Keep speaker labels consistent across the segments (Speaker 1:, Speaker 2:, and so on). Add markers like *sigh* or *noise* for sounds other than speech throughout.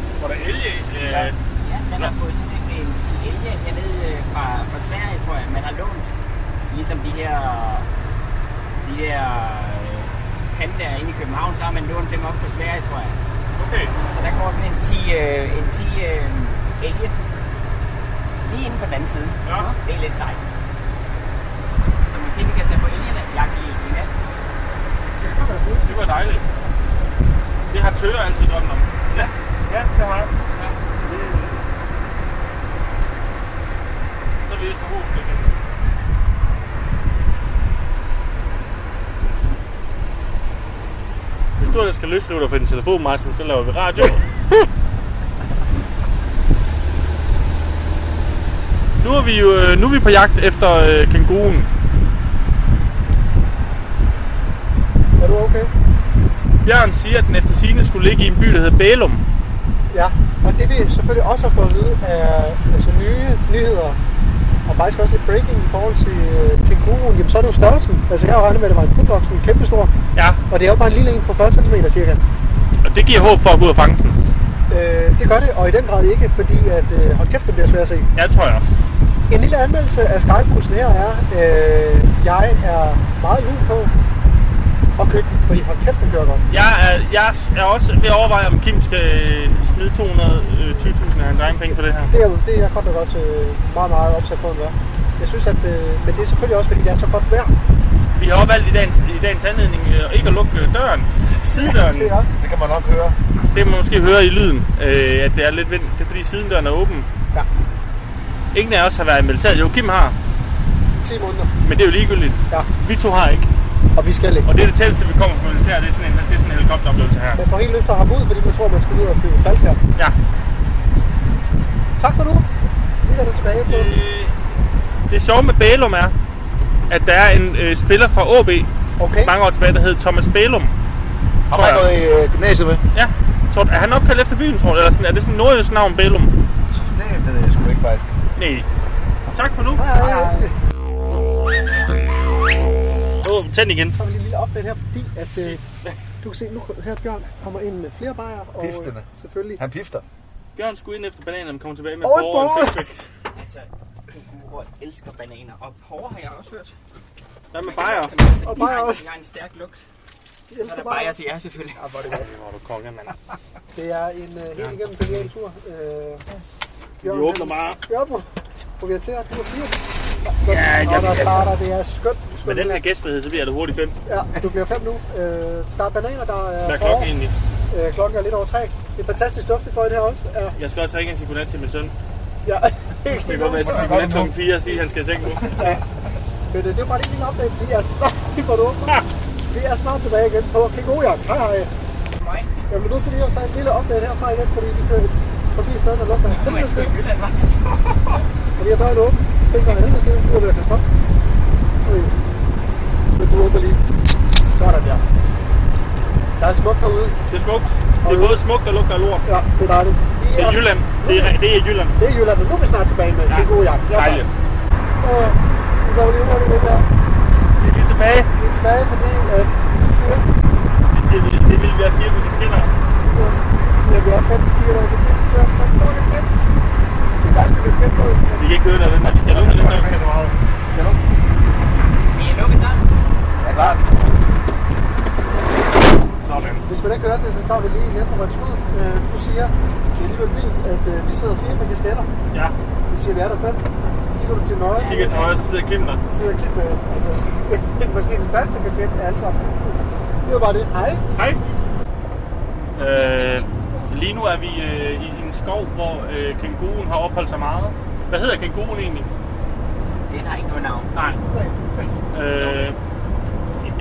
Speaker 1: Elge. Øh,
Speaker 2: Ja, ja, den har fået sit nickname til Elge. Jeg ved øh, fra, fra Sverige, tror jeg, man har lånt ligesom de her, de her øh, pandaer inde i København, så har man lånt dem op fra Sverige, tror jeg.
Speaker 1: Okay.
Speaker 2: Så der går sådan en 10, øh, en 10 øh, elge lige inde på den anden side.
Speaker 1: Ja.
Speaker 2: Det er lidt sejt. Så måske vi kan tage på elgerne jagt i i nat.
Speaker 1: Det var dejligt. Det har tøger altid drømt om. Ja.
Speaker 3: Ja, det har jeg.
Speaker 1: Så vil det forhåbentlig.
Speaker 3: Hvis du ellers skal løsrive dig fra din telefon, Martin, så laver vi radio. *laughs* nu er vi jo øh, nu er vi på jagt efter øh, kænguruen.
Speaker 4: Er du okay?
Speaker 3: Bjørn siger, at den efter sine skulle ligge i en by, der hedder Bælum.
Speaker 4: Ja, og det vi selvfølgelig også har fået at vide er altså nye nyheder, og faktisk også lidt breaking i forhold til øh, kænguruen, jamen så er det jo størrelsen. Altså jeg har jo regnet med, at det var en fuldvoksen, kæmpestor,
Speaker 3: Ja,
Speaker 4: og det er jo bare en lille en på 40 cm cirka.
Speaker 3: og det giver håb for at gå ud og fange den.
Speaker 4: Øh, det gør det, og i den grad ikke, fordi at, øh, hold kæft, det bliver svært at se.
Speaker 3: Ja, tror jeg.
Speaker 4: En lille anmeldelse af skybussen her er, øh, jeg er meget lun på at købe den, fordi hold kæft, den kører godt.
Speaker 3: Jeg er, jeg er også ved at overveje, om Kim skal øh, smide 220.000 af hans egen penge for det her.
Speaker 4: Det er, jo- det er jeg godt nok også øh, meget, meget opsat på, at være. Jeg synes, at øh, men det er selvfølgelig også, fordi det er så godt vejr.
Speaker 3: Vi har også valgt i dagens, i dagens anledning øh, ikke at lukke øh, døren, sidedøren.
Speaker 4: Se her.
Speaker 5: Det kan man nok høre.
Speaker 3: Det kan man måske høre i lyden, øh, at det er lidt vind. Det er fordi sidendøren er åben.
Speaker 4: Ja.
Speaker 3: Ingen af os har været i militæret. Jo, Kim har,
Speaker 4: 10 måneder.
Speaker 3: men det er jo ligegyldigt.
Speaker 4: Ja.
Speaker 3: Vi to har ikke.
Speaker 4: Og vi skal ikke.
Speaker 3: Og det er det tætteste, vi kommer på militæret. Det er sådan en, det er sådan en helikopteroplevelse her.
Speaker 4: Man får helt lyst til at hoppe ud, fordi man tror, man skal ud og flyve faldskærm.
Speaker 3: Ja.
Speaker 4: Tak for nu. Vi er der tilbage på.
Speaker 3: Øh, det sjove med Bælum er, at der er en øh, spiller fra AB
Speaker 4: Okay.
Speaker 3: mange år tilbage, der hed Thomas Bælum.
Speaker 5: Har
Speaker 3: Tror
Speaker 5: man
Speaker 3: jeg.
Speaker 5: gået i øh, gymnasiet med?
Speaker 3: Ja. Tror, du- er han opkaldt efter byen, tror du? Eller sådan, er det sådan en nordjysk navn, Bælum?
Speaker 5: Det ved jeg sgu ikke faktisk.
Speaker 3: Nej. Tak for nu.
Speaker 4: Hej, hej.
Speaker 3: Åh, tænd igen.
Speaker 4: Så har vi lige en lille update her, fordi at, øh, du kan se, nu her Bjørn kommer ind med flere bajer. Og, øh,
Speaker 5: Piftende.
Speaker 4: Selvfølgelig.
Speaker 5: Han pifter.
Speaker 3: Bjørn skulle ind efter bananen, men kommer tilbage med
Speaker 4: Åh, et
Speaker 3: borgeren.
Speaker 4: borger.
Speaker 2: Altså, kænguruer elsker bananer. Og porre har jeg også hørt.
Speaker 3: Hvad med bajer?
Speaker 4: Og
Speaker 2: Jeg
Speaker 4: bajer
Speaker 2: har,
Speaker 4: også.
Speaker 2: jeg har en stærk lugt.
Speaker 4: Jeg
Speaker 2: Så er
Speaker 4: elsker
Speaker 2: der
Speaker 4: bajer.
Speaker 2: bajer til jer selvfølgelig.
Speaker 4: Ja, hvor er det
Speaker 2: *laughs*
Speaker 4: godt.
Speaker 3: Hvor er du konge, mand.
Speaker 4: Det er en øh, helt igennem genial tur. Øh,
Speaker 3: Vi
Speaker 4: Bjørn,
Speaker 3: åbner
Speaker 4: han-
Speaker 3: bare.
Speaker 4: Bjørn, må- må vi til at du må sige. Ja,
Speaker 3: jeg-
Speaker 4: og der
Speaker 3: altså-
Speaker 4: starter, det er skønt.
Speaker 3: Med den her gæstfrihed, så bliver det hurtigt fem.
Speaker 4: Ja, du bliver fem nu. Øh, der er bananer, der er,
Speaker 3: Hvad er
Speaker 4: porre.
Speaker 3: klokken egentlig?
Speaker 4: Øh, klokken er lidt over tre. Det er fantastisk duftet for det her også. Ja,
Speaker 3: Jeg skal også ringe og sige godnat til min søn.
Speaker 4: ja.
Speaker 3: Det kan godt være, at jeg skal sige godnat klokken 4 og sige, at han skal i seng nu. *laughs*
Speaker 4: Men øh, det var bare lige en lille update. Vi er snart, *laughs* hvor du åbner. vi er snart tilbage igen på Kikojak. Hej hej.
Speaker 2: Mig.
Speaker 4: Jeg bliver nødt til lige at tage en lille update herfra igen, fordi de kører forbi et sted, der lugter af
Speaker 2: Det var
Speaker 4: helvede
Speaker 2: ikke
Speaker 4: sted.
Speaker 2: i Jylland, var
Speaker 4: Og vi har døren åben. Det stinker af helvede sted. Nu er det at stoppe. Så øh, Men du åbner lige. Sådan der. Der er smukt herude.
Speaker 3: Det er smukt. Det er både smukt og lugter af lort.
Speaker 4: Ja, det er dejligt. Vi
Speaker 3: Det er Jylland. Det er, det er Jylland.
Speaker 4: Det er Jylland, og nu er vi snart tilbage med Kikojak.
Speaker 3: Dejligt.
Speaker 4: Og nu går vi lige hurtigt lidt her.
Speaker 3: Vi er lige tilbage.
Speaker 4: Vi er tilbage, fordi at vi siger,
Speaker 3: Det siger vi. Det ville være fire på de skinner.
Speaker 4: så siger vi op 5 km over det så er det nok et skridt. Det er altid et skridt på.
Speaker 3: Vi kan ikke høre dig, den her. Vi skal lukke den her.
Speaker 2: Vi er lukket der.
Speaker 5: Ja, klart.
Speaker 3: Sådan.
Speaker 4: Hvis man ikke hører det, så tager vi lige igen på vores skud. Øh, du siger, det er alligevel fint, at øh, vi sidder fire med kasketter.
Speaker 3: Ja.
Speaker 4: Vi siger, vi er der fem. Kigger du til nøje,
Speaker 3: Kigger til højre, så sidder Kim der.
Speaker 4: sidder og kigger med, altså, *laughs* måske en største kasket af alle sammen. Det var bare det. Hej.
Speaker 3: Hej. Øh, lige nu er vi øh, i en skov, hvor øh, kænguruen har opholdt sig meget. Hvad hedder kænguruen egentlig?
Speaker 2: Den har ikke noget navn.
Speaker 3: Nej. Øh,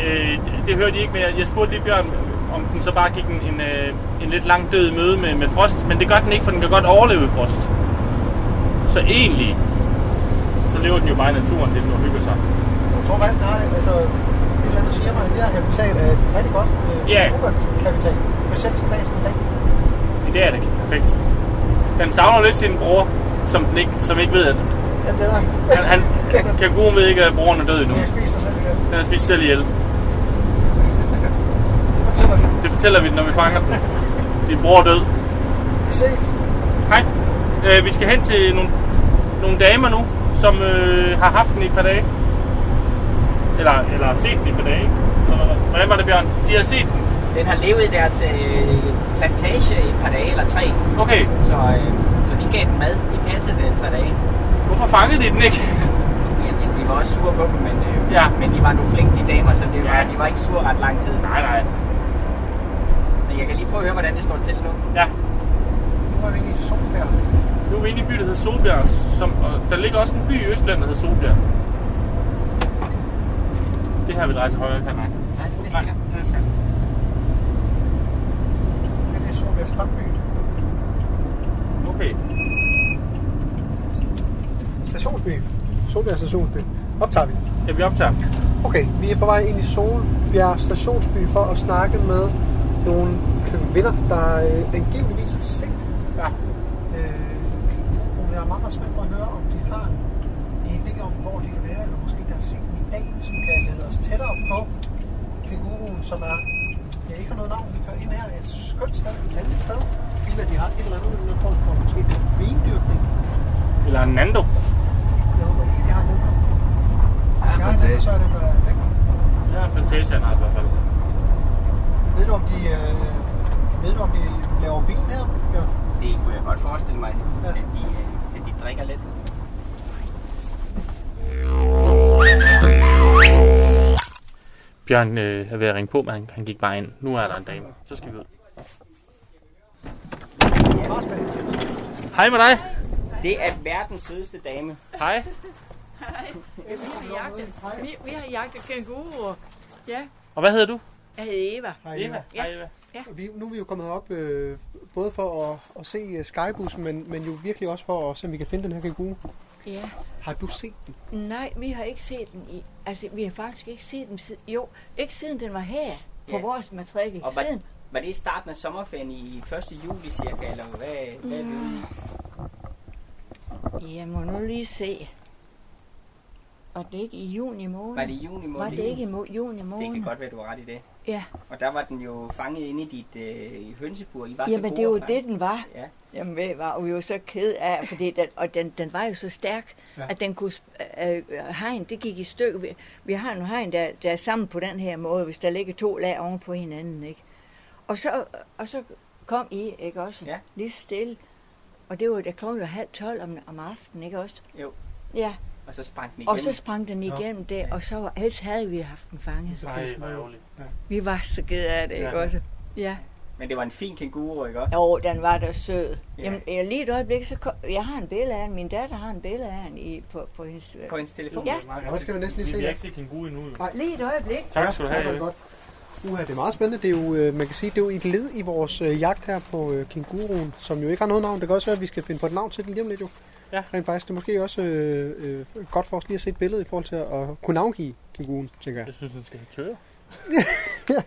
Speaker 3: øh, det hørte de ikke, men jeg, jeg spurgte lige Bjørn, om den så bare gik en, en, øh, en lidt lang død møde med, med frost. Men det gør den ikke, for den kan godt overleve frost. Så egentlig, så lever den jo bare i naturen, det den nu hygger sig.
Speaker 4: Jeg tror faktisk, nej, altså, et eller andet firma, det her habitat er et rigtig godt øh,
Speaker 3: Ja.
Speaker 4: kapital. Specielt sådan en dag som i dag.
Speaker 3: I dag er det perfekt. Den savner lidt sin bror, som, den ikke, som ikke ved, at
Speaker 4: Ja, det er
Speaker 3: han, han, kænguruen ved ikke, at broren er død endnu.
Speaker 4: Vi spiser selv igen.
Speaker 3: Den har spist selv ihjel.
Speaker 4: Det fortæller vi.
Speaker 3: Det fortæller vi, når vi fanger den. Din bror er død.
Speaker 4: Vi ses.
Speaker 3: Hej. Øh, vi skal hen til nogle, nogle damer nu, som øh, har haft den i et par dage. Eller, eller har set den i et par dage. ikke? Eller hvad? Hvordan var det, Bjørn? De har set den.
Speaker 2: Den har levet i deres øh, plantage i et par dage eller tre,
Speaker 3: Okay,
Speaker 2: så, øh, så vi gav den mad. De passede den tre dage.
Speaker 3: hvorfor fangede de den ikke?
Speaker 2: Jamen, vi var også sure på dem, men, øh,
Speaker 3: Ja.
Speaker 2: men de var nu flinke, de damer, så det var,
Speaker 3: Ja.
Speaker 2: de var ikke sure ret lang tid.
Speaker 3: Nej, nej.
Speaker 2: Men jeg kan lige prøve at høre, hvordan det står til nu.
Speaker 3: *laughs* Ja,
Speaker 4: Nu er vi inde i Solbjerg.
Speaker 3: nu er vi inde i en by, der hedder Solbjerg. Som, og der ligger også en by i Østland, der hedder Solbjerg. Det her vil dreje til højre, kan jeg mærke.
Speaker 2: Ja, næste gang.
Speaker 1: det skal.
Speaker 4: Ja, det er Solbjerg Strandby.
Speaker 3: Okay.
Speaker 4: Stationsby. Solbjerg Stationsby. Optager vi.
Speaker 3: Ja, vi optager.
Speaker 4: Okay, vi er på vej ind i Solbjerg Stationsby for at snakke med nogle kvinder, der øh, angiveligvis har set
Speaker 3: Ja.
Speaker 4: øh, kænguruen. Jeg er meget, meget spændt på at høre, om de har en idé om, hvor de kan være, eller måske der har set dem i dag, som kan lede os tættere på kænguruen, som er, ja, ikke har noget navn. Vi kører ind her et skønt sted, et andet sted, inden at de har et eller andet, en eller anden form for måske lidt vindyrkning.
Speaker 3: Eller Nando.
Speaker 4: Jeg håber ikke, de har nogen. Jeg har en
Speaker 5: plantage.
Speaker 4: tænkt, så er den øh, væk.
Speaker 3: Ja, plantagen har i hvert fald.
Speaker 4: Ved du, om de, øh, ved du, om de laver vin her? Ja.
Speaker 2: Det kunne jeg godt forestille mig,
Speaker 4: Ja.
Speaker 2: at de, øh, at de drikker lidt.
Speaker 3: Bjørn øh, er ved at ringe på, men han, han gik bare ind. Nu er der en dame. Så skal vi ud.
Speaker 4: Meget spændende.
Speaker 3: Hej med dig.
Speaker 2: Det er verdens sødeste dame.
Speaker 3: Hej.
Speaker 6: Vi har jagtet, vi, vi har jagtet kænguruer. Ja,
Speaker 3: Og hvad hedder du?
Speaker 6: jeg hedder Eva.
Speaker 4: Hej,
Speaker 3: Eva.
Speaker 6: Ja.
Speaker 3: Hej, Eva.
Speaker 4: Vi, nu er vi jo kommet op øh, både for at, at se øh, skybussen, men, men jo virkelig også for at se, om vi kan finde den her kænguru.
Speaker 6: Ja.
Speaker 4: Har du set den?
Speaker 6: Nej, vi har ikke set den i... Altså, vi har faktisk ikke set den siden... Jo, ikke siden den var her på
Speaker 2: Ja.
Speaker 6: vores matrikel.
Speaker 2: Og hvad-
Speaker 6: Siden,
Speaker 2: Var det i starten af sommerferien i 1. juli cirka, eller hvad, hvad er det?
Speaker 6: Mm.
Speaker 2: ude i?
Speaker 6: jeg må nu lige se. Og det er ikke i juni måned.
Speaker 2: Var det i juni måned?
Speaker 6: var det ikke i mo- juni måned?
Speaker 2: Det kan godt være, du har ret i det.
Speaker 6: Ja.
Speaker 2: Og der var den jo fanget inde i dit øh, hønsebur. I var så
Speaker 6: Jamen,
Speaker 2: gode
Speaker 6: det var
Speaker 2: at
Speaker 6: det,
Speaker 2: fange.
Speaker 6: den var.
Speaker 2: Ja.
Speaker 6: Jamen, ved I hvad, og vi var så ked af, fordi den, og den, den var jo så stærk,
Speaker 4: Ja.
Speaker 6: ja. at den kunne, sp- øh, øh, hegn, det gik i stykker. Vi, vi har nogle hegn, der, der er sammen på den her måde, hvis der ligger to lag oven på hinanden, ikke? Og så, og så kom I, ikke også?
Speaker 2: Ja.
Speaker 6: Lige stille. Og det var, der klokken var halv tolv om, om aftenen, ikke også?
Speaker 2: Jo.
Speaker 6: Ja,
Speaker 2: Og så sprang den igen.
Speaker 6: og så sprang den igennem der, og så var, ellers havde vi haft den fanget.
Speaker 3: Hej, hvor ærgerligt.
Speaker 6: Vi var så ked af det, ikke
Speaker 3: Ja.
Speaker 6: også? Ja.
Speaker 2: Men det var en fin kænguru, ikke også?
Speaker 6: Jo, den var da sød.
Speaker 2: Ja.
Speaker 6: Jamen, jeg, lige et øjeblik, så kom, jeg har en billede af hende. Min datter har en billede af hende i, på, på hendes... øh,
Speaker 2: På hendes telefon.
Speaker 6: Ja.
Speaker 4: Ja, det skal vi næsten lige se.
Speaker 3: Vi har
Speaker 4: ja.
Speaker 3: ikke set kænguru endnu. jo.
Speaker 6: Lige et øjeblik.
Speaker 3: Tak skal du
Speaker 4: Ja, det er
Speaker 3: have.
Speaker 4: godt. Uha, det er meget spændende. Det er jo, øh, man kan sige, det er jo et led i vores øh, jagt her på øh, kænguruen, som jo ikke har noget navn. Det kan også være, at vi skal finde på et navn til den lige om lidt jo.
Speaker 3: Ja.
Speaker 4: Rent faktisk, det er måske også øh, øh, godt for os lige at se et billede i forhold til at, at kunne navngive kænguruen, tænker jeg.
Speaker 3: Jeg synes, den skal have tøre.
Speaker 4: Jeg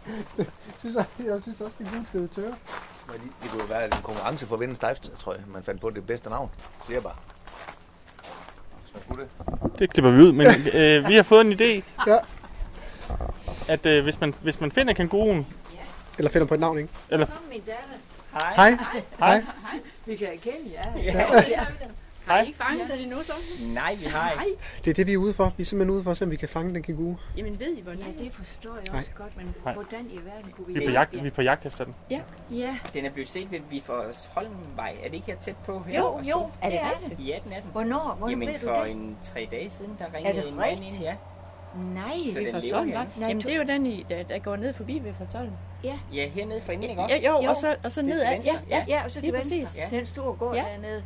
Speaker 4: synes, jeg, jeg synes også, at kænguruen skal tørre.
Speaker 5: Men det- Det kunne jo være en konkurrence for at vinde en stejft, tror jeg. Man fandt på det bedste navn. Det er bare. Hvis man kunne det.
Speaker 3: Det klipper vi ud, *laughs* men øh, vi har fået en idé.
Speaker 4: Ja.
Speaker 3: At øh, hvis, man, hvis man finder kænguruen...
Speaker 4: Eller finder på et navn, ikke?
Speaker 3: Eller,
Speaker 6: Kom, min datter.
Speaker 2: Hej.
Speaker 4: Hej.
Speaker 3: hej.
Speaker 6: Vi kan erkende, ja.
Speaker 7: Har I ikke fanget den endnu så?
Speaker 2: Nej, vi har ikke.
Speaker 4: Det er det, vi er ude for. Vi er simpelthen ude for at se, om vi kan fange den kænguru.
Speaker 7: Jamen ved I hvornår?
Speaker 6: Ja, det forstår jeg også godt, men
Speaker 3: Nej.
Speaker 6: hvordan i verden kunne vi...
Speaker 3: Vi er, på jagt, vi er på jagt efter den.
Speaker 6: Ja,
Speaker 2: Den er blevet set ved Viforsholmvej. Er det ikke her tæt på? Her
Speaker 6: jo,
Speaker 2: Og så-
Speaker 6: jo,
Speaker 7: Er
Speaker 6: det
Speaker 7: det
Speaker 6: er det.
Speaker 7: rigtigt?
Speaker 2: I 1818.
Speaker 6: Hvornår, hvornår
Speaker 2: Jamen
Speaker 6: ved du
Speaker 2: for
Speaker 6: det?
Speaker 2: en tre dage siden, der ringede
Speaker 6: det
Speaker 2: en mand ind,
Speaker 6: rigtigt?
Speaker 2: ja.
Speaker 6: Nej,
Speaker 2: Så
Speaker 6: vi
Speaker 2: den
Speaker 7: Ved
Speaker 6: forstår-
Speaker 2: lever
Speaker 7: Fortolden,
Speaker 2: her.
Speaker 7: var. Jamen det er jo den, I, der, der går ned forbi ved Fortolden.
Speaker 2: Ja, hernede for inden, ikke også?
Speaker 7: Ja, jo,
Speaker 6: Jo.
Speaker 7: og så, og så
Speaker 2: Til-
Speaker 7: ned
Speaker 2: til
Speaker 7: ad.
Speaker 2: venstre,
Speaker 7: Ja, ja.
Speaker 6: Ja, og så til
Speaker 7: Lige
Speaker 6: venstre.
Speaker 7: præcis.
Speaker 6: Ja. Den store gård
Speaker 7: Ja.
Speaker 6: dernede.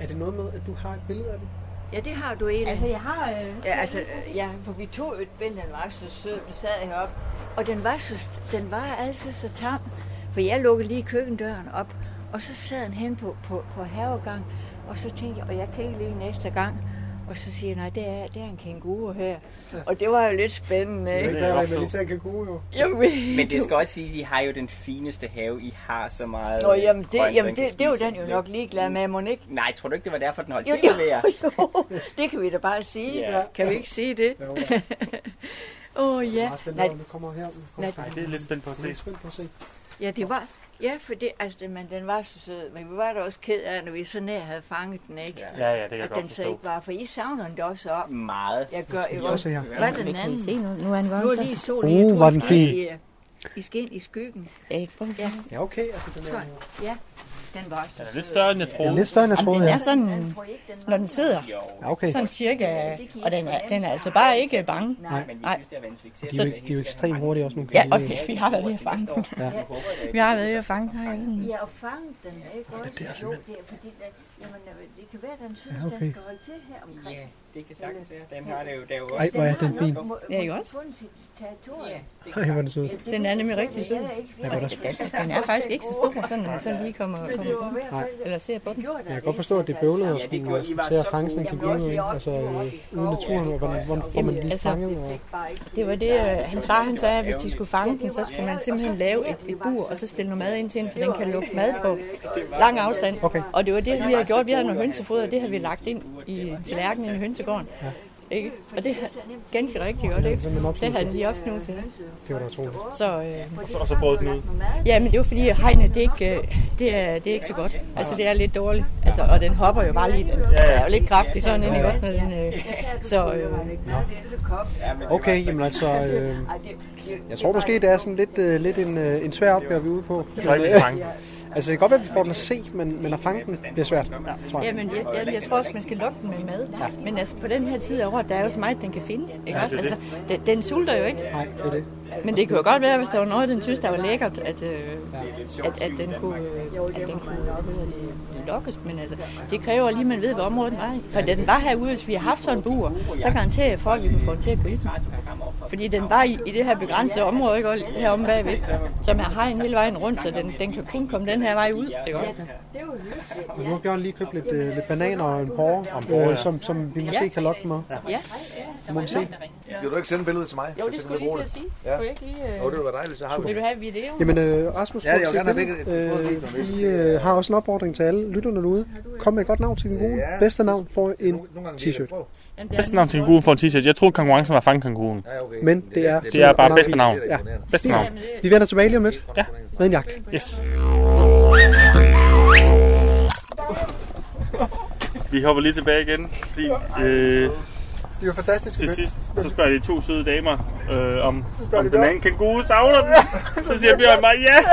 Speaker 4: Er det noget med, at du har et billede af den?
Speaker 6: Ja, det har du egentlig.
Speaker 7: Altså jeg har... Øh,
Speaker 6: Ja, altså, øh, ja, for vi tog jo et billede, den var så sød, den sad heroppe. Og den var, så, den var altid så tam, for jeg lukkede lige køkkendøren op, og så sad den hen på, på, på havegang, og så tænkte jeg, og jeg kan ikke lige næste gang. Og så siger jeg, nej, det er, det er en kænguru her. Og det var jo lidt spændende,
Speaker 4: Det er
Speaker 6: ikke?
Speaker 4: ikke
Speaker 3: jeg
Speaker 4: være, at
Speaker 3: forstå.
Speaker 4: man lige ser en kænguru jo.
Speaker 6: Jamen,
Speaker 2: Men det skal også sige, at I har jo den fineste have. I har så meget
Speaker 6: Nå,
Speaker 2: øh,
Speaker 6: jamen, det,
Speaker 2: grønt,
Speaker 6: jamen
Speaker 2: man kan
Speaker 6: det, det, er jo
Speaker 2: spise.
Speaker 6: den jo nok ligeglad med, må den
Speaker 2: *laughs*
Speaker 6: ikke?
Speaker 2: Nej, tror du ikke, det var derfor, den holdt
Speaker 6: Jo,
Speaker 2: til med jer?
Speaker 6: jo, *laughs* jo, det kan vi da bare sige.
Speaker 2: Ja.
Speaker 6: Kan vi ikke sige det? *laughs*
Speaker 4: Jo,
Speaker 6: Åh oh,
Speaker 4: ja.
Speaker 6: ja.
Speaker 4: Meget spændende,
Speaker 6: Nej,
Speaker 4: når den kommer her. Den
Speaker 6: Nej.
Speaker 4: kommer
Speaker 3: Ej, det er lidt spændt på at
Speaker 4: Jeg er
Speaker 3: se.
Speaker 4: spændt på at se.
Speaker 6: Ja, det var... Ja, for det, altså, det, men den var så sød, men vi var da også ked af, når vi så nær havde fanget den, ikke?
Speaker 5: Ja.
Speaker 3: Ja, ja, det kan jeg
Speaker 6: At
Speaker 3: godt
Speaker 6: den så
Speaker 3: forstå.
Speaker 6: ikke var, for I savner den da også op.
Speaker 2: Meget.
Speaker 6: Jeg gør jo
Speaker 4: også her.
Speaker 6: Hvad er den
Speaker 8: Kan I
Speaker 6: anden?
Speaker 8: se nu? Nu er den
Speaker 6: Nu er
Speaker 8: vokset.
Speaker 6: lige solen
Speaker 4: Uh,
Speaker 6: jeg tror,
Speaker 4: var
Speaker 6: I
Speaker 4: den
Speaker 6: skal
Speaker 4: fin.
Speaker 6: i, øh, I skal ind i skyggen.
Speaker 8: Ja, prøv at-
Speaker 4: Ja, okay. Altså, den er,
Speaker 6: Sådan. Ja, den var også
Speaker 3: Den
Speaker 6: så
Speaker 3: er lidt større, end jeg
Speaker 4: den er
Speaker 3: troede.
Speaker 4: lidt større, end jeg troede.
Speaker 8: Den
Speaker 4: Ja,
Speaker 8: er sådan,
Speaker 6: Den tror jeg ikke, den var.
Speaker 8: når den sidder,
Speaker 2: Jo,
Speaker 4: Ja, okay.
Speaker 8: sådan cirka, og den er, den er altså bare ikke bange.
Speaker 6: Nej,
Speaker 2: men vi
Speaker 8: Nej.
Speaker 2: synes, det har været en succes.
Speaker 4: De er jo- de er jo ekstremt hurtige også, nogle
Speaker 8: Ja,
Speaker 4: kæmpe.
Speaker 8: og okay, vi har været ved at fange den.
Speaker 4: Ja.
Speaker 8: Vi har været ved at fange den her.
Speaker 6: ja, og fange den, ikke også? Det er simpelthen... Jo, det er fordi, der, jamen, øh, det kan være, den synes,
Speaker 4: Ja, okay.
Speaker 6: den skal holde til her omkring.
Speaker 2: Ja, det kan sagtens være. Den har det jo, der er jo
Speaker 4: Ej,
Speaker 2: også.
Speaker 4: hvor er den fin.
Speaker 6: Må,
Speaker 8: Ja, ikke
Speaker 6: måske
Speaker 8: også?
Speaker 6: fundet sit territorie.
Speaker 2: Ja, det
Speaker 4: Ej,
Speaker 2: kan
Speaker 4: hvor er den sød.
Speaker 6: Ja, det
Speaker 8: Den
Speaker 6: ved
Speaker 8: er
Speaker 6: jeg
Speaker 8: nemlig
Speaker 6: selv,
Speaker 8: rigtig
Speaker 6: men
Speaker 8: sød.
Speaker 6: jeg er ikke
Speaker 4: Ja, hvor er der
Speaker 6: virkelig-
Speaker 8: Den er faktisk ikke så stor, sådan at man sådan lige kommer,
Speaker 6: Men
Speaker 8: kommer
Speaker 6: det var
Speaker 8: på.
Speaker 6: i hvert fald-
Speaker 8: Eller ser på
Speaker 6: det
Speaker 8: den.
Speaker 6: gjorde der
Speaker 4: Jeg kan
Speaker 6: det,
Speaker 4: godt forstå, at det er bøvlet at
Speaker 2: Ja, det
Speaker 4: skulle
Speaker 2: gjorde I
Speaker 4: øh,
Speaker 2: var
Speaker 4: til at
Speaker 2: så
Speaker 4: fange sådan en
Speaker 2: gode.
Speaker 4: kænguru, ikke? Altså, øh, ude i naturen, hvor- hvordan, hvordan får man lige
Speaker 8: Altså,
Speaker 4: fanget? Og,
Speaker 6: Fik bare ikke
Speaker 8: Det var det, øh, hans far han sagde, at hvis de skulle fange den, så skulle man simpelthen lave et, et bur, og så stille noget mad ind til den, for den kan lugte mad på lang afstand.
Speaker 4: Okay.
Speaker 8: Og det var det, vi havde gjort. Vi havde noget hønsefoder, og det havde vi lagt ind i tallerkenen i hønsegården. Ikke? Og det er ganske rigtig godt, ikke? Det havde den lige opsnuset.
Speaker 4: det var da utroligt.
Speaker 8: Så, øh,
Speaker 3: Og så, og så prøvede den ud.
Speaker 8: ja, men det var fordi, at hegnet, det er, ikke, øh, det, er, det er ikke så godt. Altså, det er lidt dårligt. Altså, og den hopper jo bare lige. Den er jo lidt kraftig sådan en, ikke også? Når den, øh, så, øh,
Speaker 4: Okay, jamen altså, øh, jeg tror måske, det er sådan lidt, øh, lidt en, øh, en svær opgave, vi er ude på.
Speaker 3: Det var ikke lidt fange.
Speaker 4: Altså, det kan godt være, at vi får den at se, men, men at fange den bliver svært, tror jeg.
Speaker 8: Jamen, jeg, jeg, jeg tror også, man skal lokke den med mad. Ja. Men altså, på den her tid af året, der er jo så meget, den kan finde. Ikke også?
Speaker 3: det er
Speaker 8: Altså, den, den sulter jo ikke.
Speaker 4: Nej, det er det.
Speaker 8: Men det kunne jo godt være, hvis der var noget, den synes, der var lækkert, at, øh, at, at den kunne, øh, at den kunne øh, lokkes. Men altså, det kræver lige, at man ved, hvor området var. i. For da den var herude, hvis vi har haft sådan en bur, så garanterer jeg for, at vi kunne få den til at gribe den. Fordi den var i, i det her begrænsede område, ikke? Og heromme bagved, som har hegn hele vejen rundt, så den, den kan kun komme den her vej ud. Ikke? også?
Speaker 4: Og nu har Bjørn lige købt lidt, øh, lidt bananer og en porre, øh, som, som vi måske
Speaker 8: Ja.
Speaker 4: kan lokke den med.
Speaker 8: Ja.
Speaker 4: Nu må vi se.
Speaker 5: Vil du ikke sende billedet til mig?
Speaker 8: Jo,
Speaker 5: Så
Speaker 8: det
Speaker 5: kan
Speaker 8: skulle jeg
Speaker 5: vi bruge
Speaker 8: lige til at sige.
Speaker 5: Ja.
Speaker 8: Kunne jeg ikke lige... øh,
Speaker 5: Jo, det ville være dejligt, så har vi
Speaker 8: Vil du have et video?
Speaker 4: Jamen, øh, Rasmus,
Speaker 5: Ja, jeg vil
Speaker 4: prøv at
Speaker 5: gerne have
Speaker 4: se
Speaker 5: begge-
Speaker 4: billedet.
Speaker 5: både video og
Speaker 4: øh, vi
Speaker 5: video.
Speaker 4: øh, har også en opfordring til alle lytterne derude. Kom med et godt navn til kænguruen.
Speaker 5: Ja.
Speaker 4: Bedste navn får en
Speaker 5: Nogle- nogle gange lige
Speaker 4: t-shirt.
Speaker 5: lidt. Prøv.
Speaker 8: Jamen, det er
Speaker 3: Bedste navn til kanguruen for en t-shirt. Jeg troede, konkurrencen var fange kanguruen.
Speaker 5: Ja, okay.
Speaker 4: Men det er-
Speaker 3: Det er bare
Speaker 4: Navn.
Speaker 3: bedste navn.
Speaker 5: Ja.
Speaker 3: Bedste navn.
Speaker 4: Vi vender tilbage lige om lidt.
Speaker 5: Ja.
Speaker 4: Med en jagt.
Speaker 3: Yes. Vi hopper lige tilbage igen, fordi øh,
Speaker 4: Det var fantastisk.
Speaker 3: til sidst, så spørger de to søde damer, øh, om, om den anden kanguru savner den. Så siger Bjørn bare, ja!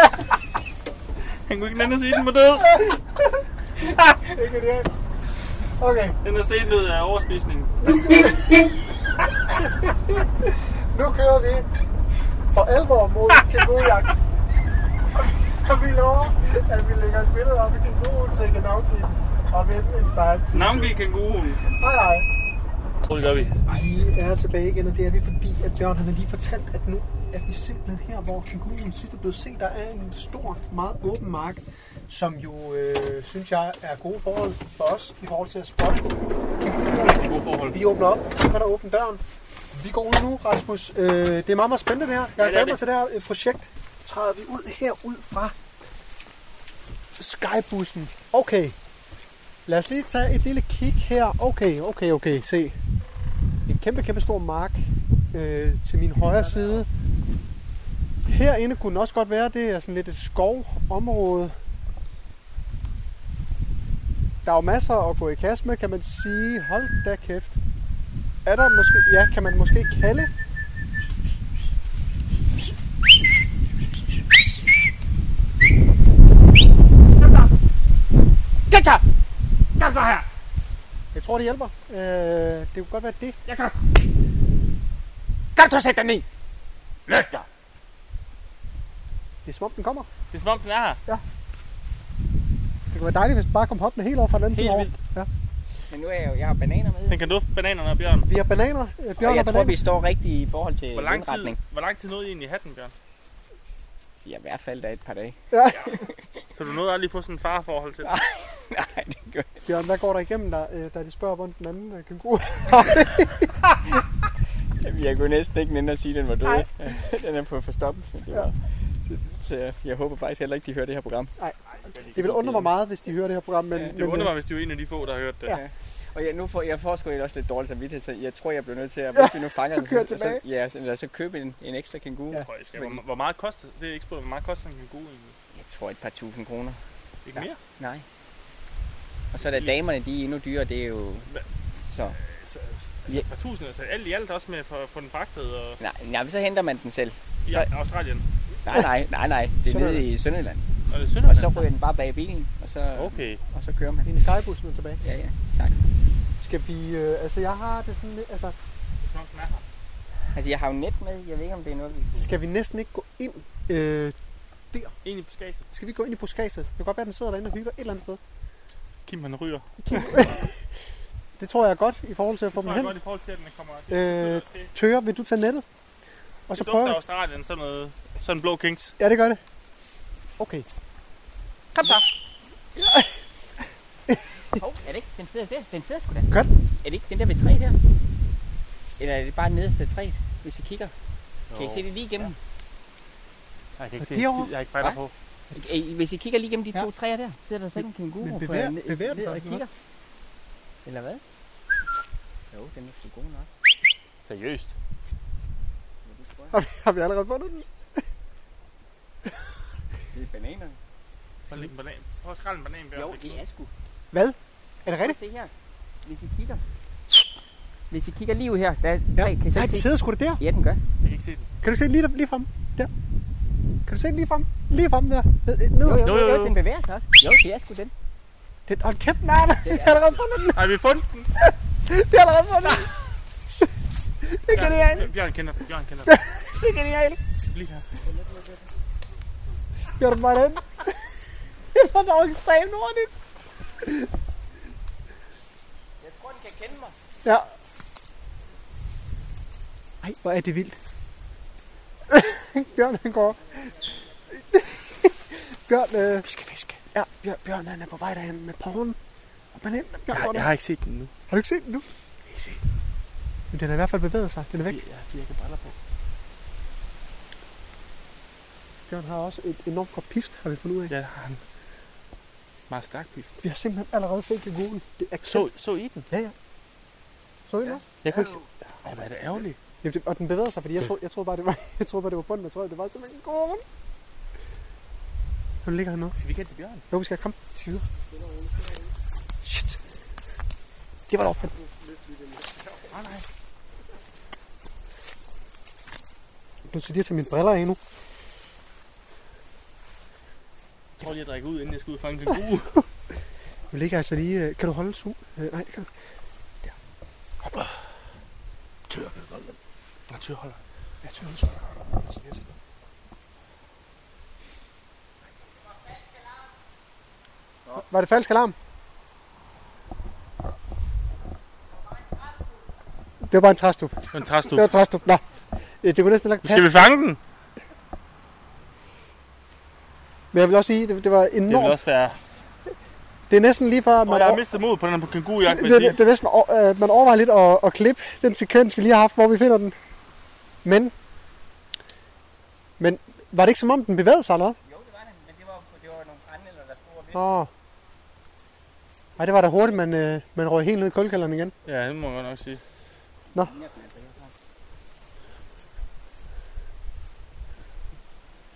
Speaker 3: Han kunne ikke lade sige, at den var død.
Speaker 4: Okay,
Speaker 3: Den er stendød af overspisning.
Speaker 4: nu kører vi for alvor mod kængurujagt. Og vi lover, at vi lægger et billede op i kænguruen, så I kan navngive og vinde en stejl.
Speaker 3: Navngiv kanguruen.
Speaker 4: Hej hej.
Speaker 3: Tror det gør vi.
Speaker 4: Vi er tilbage igen, og det er vi fordi, at Jørgen han har lige fortalt, at nu er vi simpelthen her, hvor kænguruen sidst er blevet set. Der er en stor, meget åben mark, som jo, øh, synes jeg, er gode forhold for os i forhold til at spotte kænguruer.
Speaker 3: Gode forhold.
Speaker 4: Vi åbner op, så kan der åbne døren. Vi går ud nu, Rasmus. Øh, det er meget, meget spændende det her. Jeg har
Speaker 3: det er
Speaker 4: glædet mig
Speaker 3: det.
Speaker 4: til det her øh, projekt. Træder vi ud herud fra skybussen. Okay. Lad os lige tage et lille kig her. Okay, okay, okay. Se. En kæmpe, kæmpe stor mark øh, til min højre side. Herinde kunne den også godt være. Det er sådan lidt et skovområde. Der er jo masser at gå i kast med, kan man sige. Hold da kæft. Er der måske... Ja, kan man måske kalde... Get her!
Speaker 3: Kom så her!
Speaker 4: Jeg tror, det hjælper. Øh, det kunne godt være det.
Speaker 3: Jeg kan. Kom så, sæt dig ned! Løg dig!
Speaker 4: Det er som om, den kommer.
Speaker 3: Det er som om, den er her.
Speaker 4: Det kunne være dejligt, hvis den bare kom hoppende helt over fra den anden side.
Speaker 3: Helt
Speaker 4: over.
Speaker 3: vildt.
Speaker 4: Ja.
Speaker 2: Men nu er jeg jo, jeg har bananer med.
Speaker 3: Den kan dufte bananerne og bjørn.
Speaker 4: Vi har bananer, øh, bjørn
Speaker 2: Og
Speaker 4: og,
Speaker 2: jeg tror,
Speaker 4: bananer.
Speaker 2: vi står rigtigt i forhold til
Speaker 3: Hvor lang tid,
Speaker 2: indretning.
Speaker 3: hvor lang tid nåede I egentlig at have den, Bjørn?
Speaker 2: Ja, i hvert fald da et par dage. *laughs*
Speaker 3: Så du nåede aldrig at få sådan en farforhold til det?
Speaker 2: Nej, det gør jeg.
Speaker 4: Bjørn, hvad går der igennem, der, øh, da de spørger, hvordan den anden øh,
Speaker 3: *laughs*
Speaker 4: kænguru?
Speaker 2: Jamen, Jeg kunne næsten ikke nænde at sige, at den var død.
Speaker 4: Nej.
Speaker 2: *laughs* den er på forstoppelse. Det var. Så, så jeg, jeg håber faktisk heller ikke, de hører det her program.
Speaker 4: Det vil undre mig meget, hvis de hører det her program, men,
Speaker 2: Ja, det
Speaker 4: men
Speaker 3: Det
Speaker 4: øh,
Speaker 3: undrer mig, hvis det var en af de få, der har hørt det.
Speaker 4: Ja.
Speaker 2: Og jeg, nu får, jeg får sgu også lidt dårlig samvittighed, så jeg tror, jeg bliver nødt til at, hvis vi nu fanger den,
Speaker 4: Kør
Speaker 2: så, så,
Speaker 4: tilbage.
Speaker 2: ja, så, lad os så købe en, en ekstra kænguru.
Speaker 4: Ja.
Speaker 2: Ja.
Speaker 3: Tror jeg, jeg skal. Hvor, hvor meget koster det? er ikke spurgt, hvor meget koster en god egentlig?
Speaker 2: Jeg tror et par tusind kroner.
Speaker 3: Ikke
Speaker 2: Ja.
Speaker 3: mere?
Speaker 2: Nej. Og så er der damerne, de er endnu dyrere, det er jo...
Speaker 3: Hva-
Speaker 2: Så,
Speaker 3: Altså, altså
Speaker 2: Ja.
Speaker 3: et par tusind, altså alt i alt også med for at få den fragtet og
Speaker 2: nej, nej, så henter man den selv.
Speaker 3: i
Speaker 2: Så-
Speaker 3: Australien.
Speaker 2: Nej, nej, nej, nej. Det er nede i Sønderland.
Speaker 3: Og det er
Speaker 2: Og så
Speaker 3: Sønderland.
Speaker 2: ryger den bare bag bilen, og så,
Speaker 3: Okay.
Speaker 2: og så kører man.
Speaker 4: En guidebus nu tilbage.
Speaker 2: Ja, ja, tak.
Speaker 4: Skal vi, øh, altså jeg har det sådan lidt, altså
Speaker 3: Som om den er her.
Speaker 2: Altså, jeg har jo net med. Jeg ved ikke, om det er noget, vi kunne...
Speaker 4: skal vi næsten ikke gå ind, øh,
Speaker 3: Egentlig på skase.
Speaker 4: skal vi gå ind i buskaget? Det kan godt være, at den sidder derinde og hygger et eller andet sted.
Speaker 3: Kim han ryger.
Speaker 4: Det tror jeg er godt i forhold til at få
Speaker 3: Det
Speaker 4: dem
Speaker 3: tror jeg
Speaker 4: hen.
Speaker 3: godt i forhold til, at den kommer.
Speaker 4: Øh,
Speaker 3: det, det,
Speaker 4: Tøger, vil du tage nettet? Og så
Speaker 3: det dufter
Speaker 4: prøve.
Speaker 3: Australien sådan noget. Sådan blå kings.
Speaker 4: Ja, det gør det. Okay.
Speaker 2: Kom så! Hov, er det ikke? Den sidder der. Den sidder sgu da.
Speaker 4: Gør
Speaker 2: den? Er det ikke den der ved træ der? Eller er det bare nederste af træet, hvis I kigger? Kan I se det lige igennem?
Speaker 3: Jeg kan
Speaker 4: ikke
Speaker 3: ikke
Speaker 4: se
Speaker 3: se.
Speaker 4: en skid.
Speaker 3: Jeg er ikke
Speaker 2: briller
Speaker 3: fejler på.
Speaker 2: I- Hvis I kigger lige igennem de
Speaker 4: Ja.
Speaker 2: to træer der, sidder der sådan en kænguru.
Speaker 4: men
Speaker 2: på
Speaker 4: bevæger-
Speaker 2: en-
Speaker 4: bevæger den sig
Speaker 2: ned og
Speaker 4: ikke
Speaker 2: kigger. Eller hvad? Jo, den er sgu god nok.
Speaker 3: Seriøst.
Speaker 2: Ja, det tror jeg.
Speaker 4: Har vi, har vi allerede fundet den?
Speaker 2: Det er bananerne.
Speaker 3: Så lige en banan. Prøv at skrælle en banan. Bjørn.
Speaker 2: Jo, det er sgu.
Speaker 4: Hvad? Er det
Speaker 2: Prøv at
Speaker 4: rigtigt?
Speaker 2: se her. Hvis I kigger. Hvis I kigger lige ud her, der er
Speaker 4: Ja.
Speaker 2: tre, kan I
Speaker 4: Nej,
Speaker 2: så
Speaker 4: den
Speaker 2: se?
Speaker 4: sidder sgu da der.
Speaker 2: Ja, den gør.
Speaker 3: Jeg kan ikke se den.
Speaker 4: Kan du se den lige, der- lige frem? Der. Kan du se den lige frem? Lige frem der. Ned, ned.
Speaker 2: Jo, jo, jo,
Speaker 3: Jo, jo,
Speaker 2: jo,
Speaker 3: jo.
Speaker 2: den bevæger sig også. Jo, det er sgu den.
Speaker 4: Den, hold kæft, nej, nej. Jeg har allerede fundet den.
Speaker 3: Har vi fundet den?
Speaker 4: Vi har allerede fundet den. Det er genialt.
Speaker 3: Bjørn, Bjørn kender den. Bjørn kender *laughs* den.
Speaker 4: Det er genialt.
Speaker 3: Bliv her.
Speaker 4: Gør den bare den. Det var dog ekstremt hurtigt.
Speaker 2: Jeg tror, den kan kende mig.
Speaker 4: Ja. Ej, hvor er det vildt. Bjørn, han går. Bjørn, øh... Vi skal fiske. Ja, Bjørn, Bjørn han er på vej derhen med porren. Og bananen, og Bjørn, går der.
Speaker 3: Jeg har ikke set den nu.
Speaker 4: Har du ikke set den nu? Ikke set Men den har i hvert fald bevæget sig. Den er væk.
Speaker 3: Jeg har fire briller på.
Speaker 4: Bjørn har også et enormt godt pift, har vi fundet ud af. Ja.
Speaker 3: Ja, det har han. Meget stærk pift.
Speaker 4: Vi har simpelthen allerede set det gode. Det er
Speaker 3: Så,
Speaker 4: kæmpe-
Speaker 3: så I den?
Speaker 4: Ja, ja. Så I den også?
Speaker 3: Jeg kunne ikke se. Ej, hvor er det ærgerligt.
Speaker 4: Jamen, det, og den bevæger sig, fordi jeg troede, jeg troede bare, det var, *laughs* jeg troede bare, det var bunden af træet. Det var simpelthen gården. Nu ligger han nu.
Speaker 3: Skal vi kende til Bjørn?
Speaker 4: Jo, vi skal komme. Vi skal videre. Shit. Det var dog fedt. Nu skal jeg tage mine briller af nu.
Speaker 3: Jeg tror lige, jeg drikker ud, inden jeg skal ud og *laughs* fange en gode.
Speaker 4: Nu ligger jeg altså lige... øh, Kan du holde su? Øh, nej, det kan du.
Speaker 3: Jeg tørholder.
Speaker 4: Jeg tør holde su. Var det falsk alarm? Det var bare en træstup. Det
Speaker 3: Men træs du.
Speaker 4: var en træstup. Nå. Øh, Det kunne næsten lagt
Speaker 3: Skal vi
Speaker 4: passe.
Speaker 3: fange den?
Speaker 4: Men jeg vil også sige, det, det var
Speaker 3: Det vil
Speaker 4: enormt.
Speaker 3: også være...
Speaker 4: Det er næsten lige før, at
Speaker 3: Og
Speaker 4: man,
Speaker 3: jeg har
Speaker 4: over-
Speaker 3: mistet mod på den her kængurujagt, vil jeg
Speaker 4: det,
Speaker 3: sige.
Speaker 4: det, det er næsten, o- øh, man overvejer lidt at, at klippe den sekvens, vi lige har haft, hvor vi finder den. Men, men var det ikke som om, den bevægede sig eller hvad?
Speaker 2: Jo, det var den, men det var, det var nogle brændenælder, der stod og vidste.
Speaker 4: Åh. Ej, det var da hurtigt, man, øh, man røg helt ned i kulkælderen igen.
Speaker 3: Ja, det må jeg godt nok sige.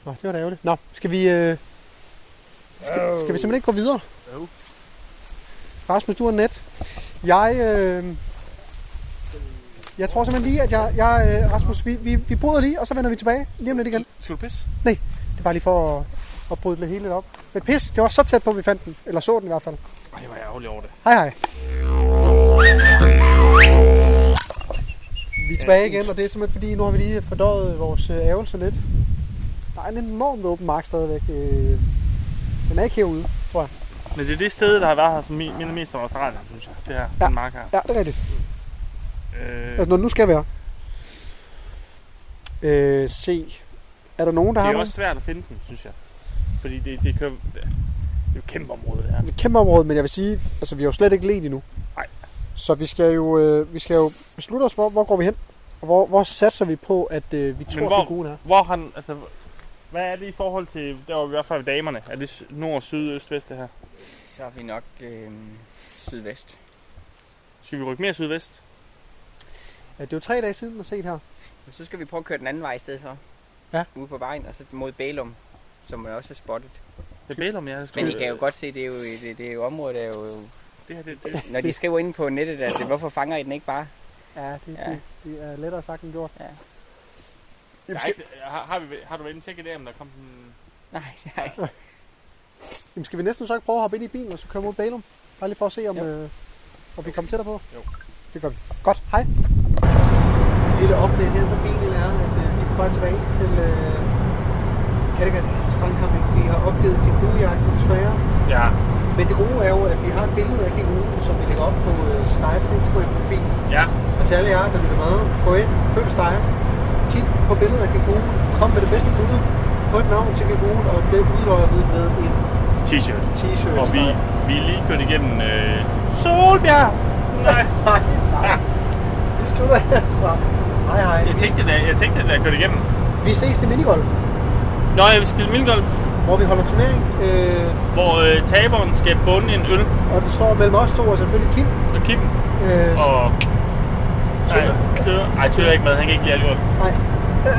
Speaker 4: Nå, det var da ærgerligt. Nå, skal vi, øh, skal, skal vi simpelthen ikke gå videre?
Speaker 3: Jo.
Speaker 4: Rasmus, du har net. Jeg, øh, jeg tror simpelthen lige, at jeg, jeg øh, Rasmus, vi, vi, vi bryder lige, og så vender vi tilbage lige om lidt igen.
Speaker 3: Skal du pisse?
Speaker 4: Det er bare lige for at, at bryde det hele lidt op. Men pis, det var så tæt på, at vi fandt den. Eller så den i hvert fald.
Speaker 3: Ej, hvor er jeg ærgerlig over det.
Speaker 4: Hej hej. Vi er tilbage igen, og det er simpelthen fordi, nu har vi lige fordøjet vores øh, ærgelse lidt. Der er en enormt åben mark stadigvæk. øh. Den er ikke herude.
Speaker 3: Men det er det sted, der har været her, som mi- minder mest om Australien, synes jeg. Det her,
Speaker 4: Ja.
Speaker 3: den mark her.
Speaker 4: Ja, det er rigtigt.
Speaker 3: Øh,
Speaker 4: Altså, når den nu skal være. Øh, se. Er der nogen,
Speaker 3: det
Speaker 4: der har
Speaker 3: er jo
Speaker 4: nogen?
Speaker 3: også svært at finde den, synes jeg. Fordi det, det, kører, det er jo et kæmpe område, det her.
Speaker 4: et kæmpe område, men jeg vil sige, altså vi har jo slet ikke let endnu.
Speaker 3: Nej.
Speaker 4: Så vi skal jo, øh, vi skal jo beslutte os for, hvor går vi hen? Og hvor, hvor satser vi på, at øh, vi tror,
Speaker 3: hvor-
Speaker 4: hvor... figuren er?
Speaker 3: Hvor han, altså, hvad er det i forhold til, der var i hvert fald damerne? Er det s- nord, syd, øst, vest det her?
Speaker 2: Så er vi nok øh, sydvest.
Speaker 3: Skal vi rykke mere sydvest?
Speaker 4: Ja, det er jo tre dage siden, man har set her.
Speaker 2: Og så skal vi prøve at køre den anden vej i stedet for.
Speaker 4: Ja.
Speaker 2: Ude på vejen, og så mod Bælum, som man også har spottet.
Speaker 3: Jeg beder om jer.
Speaker 2: Men I kan jo godt se, det er jo, det, det er jo området, der er jo...
Speaker 3: Det her, det, det.
Speaker 2: Når de skriver inde på nettet, at øh, hvorfor fanger I den ikke bare?
Speaker 4: Ja, det,
Speaker 2: Ja.
Speaker 4: Det, det er lettere sagt end gjort.
Speaker 3: Der er ikke, har, har, vi, har du været inde og tjekke i dag, om der kom en...
Speaker 2: Nej, nej.
Speaker 4: Jamen, skal vi næsten så ikke prøve at hoppe ind i bilen og så køre mod Balum? Bare lige for at se, om, øh, om vi kommer tættere på.
Speaker 3: Jo.
Speaker 4: Det gør vi. Godt, hej. Lille update her på bilen er, at øh, vi er på vej tilbage til øh, Kattegat Strandcamping. Vi har opgivet kængurujagten desværre.
Speaker 3: Ja,
Speaker 4: Men det gode er jo, at vi har et billede af kænguruen, som vi lægger op på øh, Stejfs Instagram-profil.
Speaker 3: ja.
Speaker 4: Og til alle jer, der lytter med, gå ind, følg Stejf, kig på billedet af kænguruen, kom med det bedste bud på et navn til kænguruen, og det udløjer vi med en
Speaker 3: T-shirt.
Speaker 4: t-shirt.
Speaker 3: Og vi,
Speaker 4: Stejf.
Speaker 3: vi er lige kørt igennem øh, Solbjerg. Nej.
Speaker 4: Nej, nej. Vi slutter herfra. Hej, hej.
Speaker 3: Jeg tænkte, da jeg, tænkte, da jeg kørte igennem.
Speaker 4: Vi ses til minigolf,
Speaker 3: Nå, jeg vil spille minigolf,
Speaker 4: hvor vi holder turnering. Øh,
Speaker 3: hvor øh, taberen skal bunde en øl
Speaker 4: og det står mellem os to og selvfølgelig Kim.
Speaker 3: og Kim
Speaker 4: Øh,
Speaker 3: og... Nej, Tøger. Ej, Tøger er ikke med. Han kan ikke lide alkohol.
Speaker 4: Nej.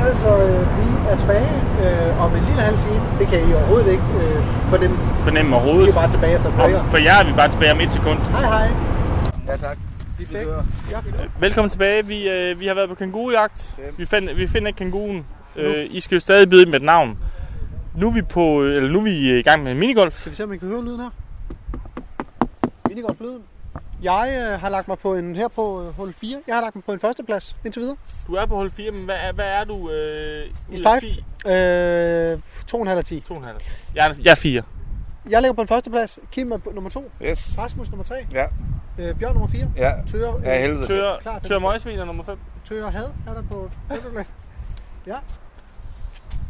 Speaker 4: Altså, øh, vi er tilbage øh, om en lille halv time. Det kan I overhovedet ikke øh, for dem.
Speaker 3: Fornemme
Speaker 4: Vi
Speaker 3: overhovedet.
Speaker 4: er bare tilbage efter
Speaker 3: Og
Speaker 4: brejer.
Speaker 3: for jer er vi bare tilbage om et sekund.
Speaker 4: Hej, hej.
Speaker 5: Ja, tak.
Speaker 4: Vi begge. Ja.
Speaker 3: Velkommen tilbage. Vi, øh, vi har været på kængurujagt.
Speaker 5: Yep.
Speaker 3: Vi, find, vi finder ikke kænguruen. Øh, I skal jo stadig byde ind med et navn. Nu er vi, på, øh, eller nu er vi øh, i gang med minigolf.
Speaker 4: Skal vi se, om I kan høre lyden her? Minigolf lyden. Jeg øh, har lagt mig på en her på øh, hul 4. Jeg har lagt mig på en førsteplads indtil videre.
Speaker 3: Du er på hul 4, men hvad er, hvad er du øh,
Speaker 4: I
Speaker 3: ud af
Speaker 4: stejft.
Speaker 3: 10?
Speaker 4: Øh, 2,5 af 10.
Speaker 3: 2,5. Jeg, er- jeg er 4.
Speaker 4: Jeg ligger på en førsteplads. Kim er på nummer 2.
Speaker 5: Yes.
Speaker 4: Rasmus nummer 3.
Speaker 5: Ja.
Speaker 4: Øh, Bjørn nummer 4.
Speaker 5: Ja.
Speaker 4: Tøger,
Speaker 5: Ja, helvede. til.
Speaker 3: Tør,
Speaker 4: klart.
Speaker 3: tør Møgsvin er nummer 5.
Speaker 4: Tøger had er der på femteplads. ja.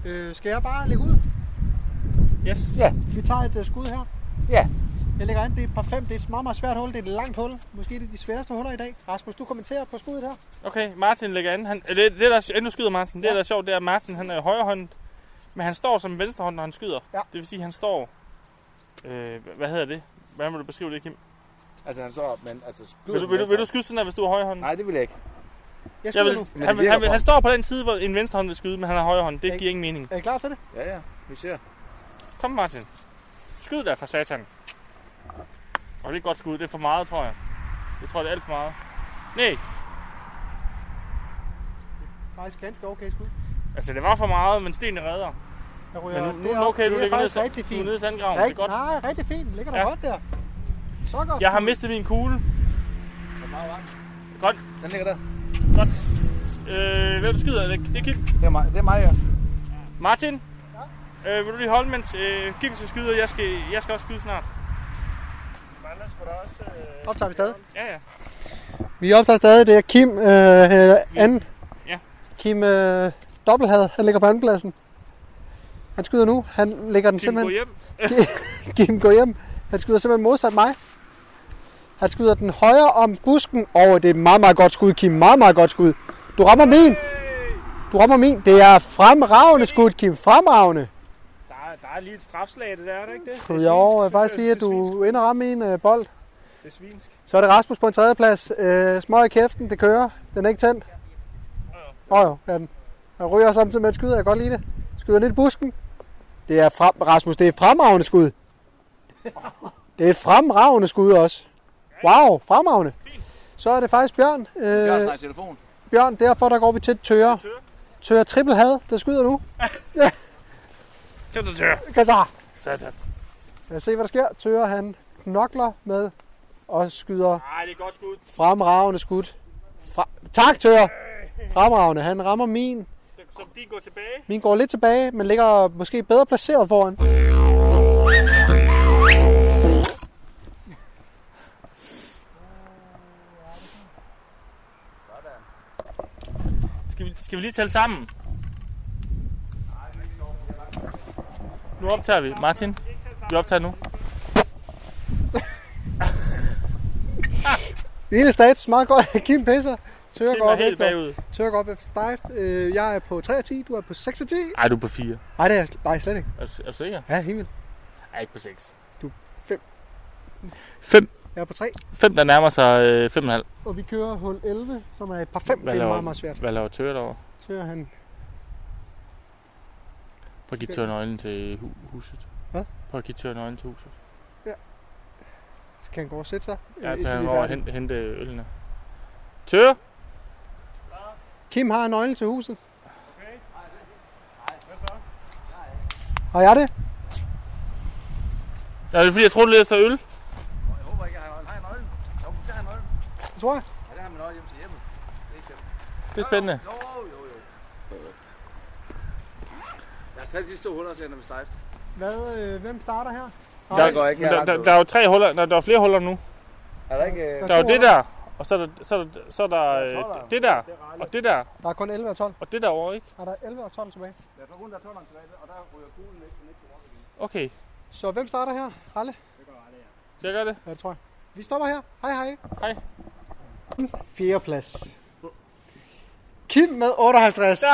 Speaker 4: Øh, skal jeg bare lægge ud?
Speaker 3: Yes.
Speaker 5: Ja.
Speaker 4: Vi tager et øh, skud her.
Speaker 5: Ja.
Speaker 4: Jeg lægger an, det er et par fem. Det er et meget, meget svært hul. Det er et langt hul. Måske det er de sværeste huller i dag. Rasmus, du kommenterer på skuddet her.
Speaker 3: Okay, Martin lægger an. Han, det, det, der, er- endnu skyder Martin. Det,
Speaker 4: Ja.
Speaker 3: der er sjovt, det er, at Martin han er højrehåndet, men han står som venstrehånd, når han skyder.
Speaker 4: Ja.
Speaker 3: Det vil sige, at han står... Øh, hvad hedder det? Hvordan vil du beskrive det, Kim?
Speaker 5: Altså, han står op, men altså...
Speaker 3: Vil du, vil, du, vil du skyde sådan her, hvis du er højrehåndet?
Speaker 5: Nej, det vil jeg ikke.
Speaker 4: Jeg
Speaker 3: Jeg
Speaker 4: skyder
Speaker 3: vil,
Speaker 4: nu.
Speaker 5: det
Speaker 3: han, vil,
Speaker 5: virker
Speaker 3: han, vil,
Speaker 5: for
Speaker 3: han
Speaker 5: ham.
Speaker 3: står på den side, hvor en venstre hånd vil skyde, men han har højre hånd. Det
Speaker 4: Ikke?
Speaker 3: giver ingen mening.
Speaker 4: Er I klar til det?
Speaker 5: Ja, ja. Vi ser.
Speaker 3: Kom, Martin. Skyd der for satan. Og det er et godt skud. Det er for meget, tror jeg. Jeg tror, det er alt for meget. Nej,
Speaker 4: Faktisk ganske okay skud.
Speaker 3: altså det var for meget, men sten redder.
Speaker 4: Jeg
Speaker 3: Men
Speaker 4: ryger.
Speaker 3: nu, nu
Speaker 4: det
Speaker 3: er
Speaker 4: er,
Speaker 3: det okay, du
Speaker 4: det
Speaker 3: ligger
Speaker 4: er
Speaker 3: ned,
Speaker 4: faktisk
Speaker 3: så-
Speaker 4: rigtig
Speaker 3: du er
Speaker 4: fint.
Speaker 3: nede i sandgraven. Det er
Speaker 4: Rigtig,
Speaker 3: godt.
Speaker 4: nej, rigtig fint. Ligger der
Speaker 3: Ja.
Speaker 4: godt der. Så godt.
Speaker 3: Jeg har mistet min kugle. Godt,
Speaker 5: Den ligger der.
Speaker 3: godt. Øh, hvem skyder? Det, det er Kim.
Speaker 5: Det er mig, det er mig ja.
Speaker 3: Martin? Ja. Øh, vil du lige holde, mens øh, Kim skal skyde, og jeg skal, jeg skal også skyde snart?
Speaker 1: øh,
Speaker 4: Optager vi stadig?
Speaker 3: Ja, ja.
Speaker 4: Vi optager stadig, det er Kim øh, øh, anden.
Speaker 3: Ja.
Speaker 4: Kim øh, Dobbelhad, han ligger på andenpladsen. Han skyder nu, han lægger den
Speaker 3: Kim, gå
Speaker 4: simpelthen...
Speaker 3: hjem.
Speaker 4: Kim går hjem. Han skyder simpelthen modsat mig. Han skyder den højre om busken. Og oh, det er et meget, meget godt skud, Kim. Meget, meget godt skud. Du rammer min. Du rammer min. Det er fremragende skud, Kim. Fremragende.
Speaker 1: Der er, der er lige et strafslag, det der, er der ikke det?
Speaker 4: Jo, jeg vil faktisk sige, at du ender ramme en øh, bold.
Speaker 1: Det er svinsk.
Speaker 4: Så er det Rasmus på en tredjeplads. Øh, smøg i kæften, det kører. Den er ikke tændt. Åh oh, jo, ja, den. Han ryger samtidig med et skyder, jeg kan godt lide det. Skyder lidt i busken. Det er frem, Rasmus, det er et fremragende skud. Det er et fremragende skud også. Wow, fremragende. Så er det faktisk Bjørn.
Speaker 5: Jeg har
Speaker 4: Øh,
Speaker 5: snakket telefon.
Speaker 4: Bjørn, derfor der går vi til Tøre. Tøre trippelhad, der skyder nu.
Speaker 3: Kim, du tør.
Speaker 4: Kassar.
Speaker 3: Satan.
Speaker 4: Lad os se, hvad der sker. Tøre, han knokler med og skyder
Speaker 3: Ej, det er et godt skud.
Speaker 4: Fremragende skud. Fra... Tak, Tør. Fremragende. Han rammer min.
Speaker 3: Så de går tilbage.
Speaker 4: Min går lidt tilbage, men ligger måske bedre placeret foran.
Speaker 3: Skal vi, skal vi lige tælle sammen? Nu optager vi. Martin, vi optager nu.
Speaker 4: Det hele status meget godt. *laughs* Kim pisser. Tør
Speaker 3: Kim
Speaker 4: går
Speaker 3: er
Speaker 4: op
Speaker 3: helt
Speaker 4: efter.
Speaker 3: bagud.
Speaker 4: Tør går op efter stejft. Øh, Jeg er på 3 af 10, du er på 6 af 10.
Speaker 3: Ej, du er på 4.
Speaker 4: Nej, det er jeg sl- nej, slet ikke.
Speaker 3: Er, du- er du sikker?
Speaker 4: Ja, helt vildt.
Speaker 3: Ej, ikke på 6.
Speaker 4: Du er 5.
Speaker 3: 5.
Speaker 4: Jeg er på 3,
Speaker 3: Fem, der nærmer sig øh, fem og en halv.
Speaker 4: og vi kører hul 11, som er et par 5.
Speaker 3: Hvad
Speaker 4: Det er
Speaker 3: laver-
Speaker 4: meget, meget svært.
Speaker 3: Hvad laver Tøger derovre?
Speaker 4: Så er han
Speaker 3: Prøv at give Tøger nøglen til hu- huset.
Speaker 4: Hvad?
Speaker 3: Prøv at give Tøger nøglen til huset.
Speaker 4: så kan han gå og sætte sig. øh,
Speaker 3: Ja,
Speaker 4: indtil
Speaker 3: så
Speaker 4: vi
Speaker 3: han
Speaker 4: er
Speaker 3: går og
Speaker 4: færdige.
Speaker 3: hente, hente ølene. Tøger!
Speaker 4: Kim har nøglen til huset. Har jeg det?
Speaker 3: Ja, det er fordi, jeg troede, du ledte efter øl.
Speaker 5: Jeg håber ikke, jeg har Har jeg nøglen. Jo, du skal have nøglen.
Speaker 4: Det tror jeg.
Speaker 5: Ja, det har man nøglen hjemme til hjemmet. Det er ikke hjemme.
Speaker 3: Det er spændende.
Speaker 5: Jo, jo, jo. Lad os tage de sidste to huller, og se, når vi stejft.
Speaker 4: Hvad, øh, hvem starter her?
Speaker 5: Der går ikke.
Speaker 3: Men Der,
Speaker 5: Jeg
Speaker 3: der, der, er jo tre huller, nej, der er flere huller nu.
Speaker 5: Er der ikke... øh,
Speaker 3: Der er jo det der, og så er der, så er der, så er der
Speaker 5: Der er
Speaker 3: øh,
Speaker 5: tolleren.
Speaker 3: det der, og det der,
Speaker 4: Der er kun 11 og 12.
Speaker 3: og det der over, ikke?
Speaker 4: Er der 11 og 12 tilbage?
Speaker 5: Jeg tror kun, der er tolleren tilbage, og der ryger kuglen ikke, så den ikke kan rokke igen.
Speaker 3: Okay,
Speaker 4: Så hvem starter her? Ralle?
Speaker 3: skal jeg gøre det?
Speaker 4: Ja, det tror jeg. Vi stopper her. Hej, hej.
Speaker 3: Hej.
Speaker 4: Fjerde plads. Kim med 58. Ja.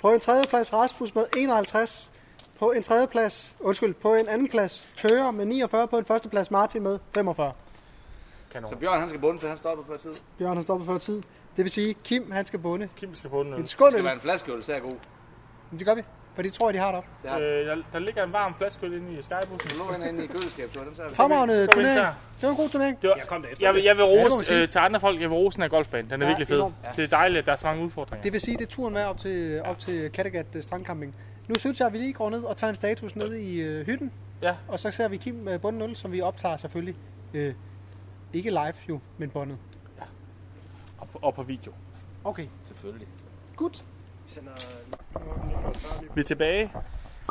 Speaker 4: På en tredje plads Rasmus med 51. På en tredje plads, undskyld, på en anden plads Tøger med 49. På en første plads Martin med 45.
Speaker 5: Så Bjørn, han skal bunde, for han stopper før tid. Det
Speaker 4: Bjørn har stoppet før tid. Det vil sige, Kim han skal bunde.
Speaker 3: Kim skal få den nu.
Speaker 4: En skål
Speaker 5: skal
Speaker 4: øl.
Speaker 5: være en flaskeøl, så er jeg god.
Speaker 4: Men Det gør vi, for det tror jeg, de har deroppe.
Speaker 5: Det har
Speaker 3: Øh, der, der ligger en varm flaske øl inde i skybussen.
Speaker 5: lå han inde i køleskabet, så den tager vi.
Speaker 4: Fremragende
Speaker 3: Kom ind
Speaker 4: turnering.
Speaker 3: her.
Speaker 4: Det var en god turnering.
Speaker 3: Det var,
Speaker 1: Jeg kom der efter.
Speaker 3: jeg, vil, jeg vil
Speaker 4: Ja, det må man
Speaker 3: rose
Speaker 4: sige.
Speaker 3: øh, til andre folk, jeg vil rose den her golfbane. Den er
Speaker 4: Ja,
Speaker 3: virkelig fed.
Speaker 4: enormt.
Speaker 3: Det er dejligt, at der er så mange udfordringer.
Speaker 4: Det vil sige, det er turen værd op til, op til Kattegat øh, Strandcamping. Nu synes jeg, at vi lige går ned og tager en status ned i øh, hytten.
Speaker 3: Ja.
Speaker 4: Og så ser vi Kim med bunden 0, som vi optager selvfølgelig. Øh, ikke live jo, men båndet.
Speaker 3: Og, på- og på video.
Speaker 4: Okay,
Speaker 5: Selvfølgelig.
Speaker 4: godt.
Speaker 3: Vi er tilbage.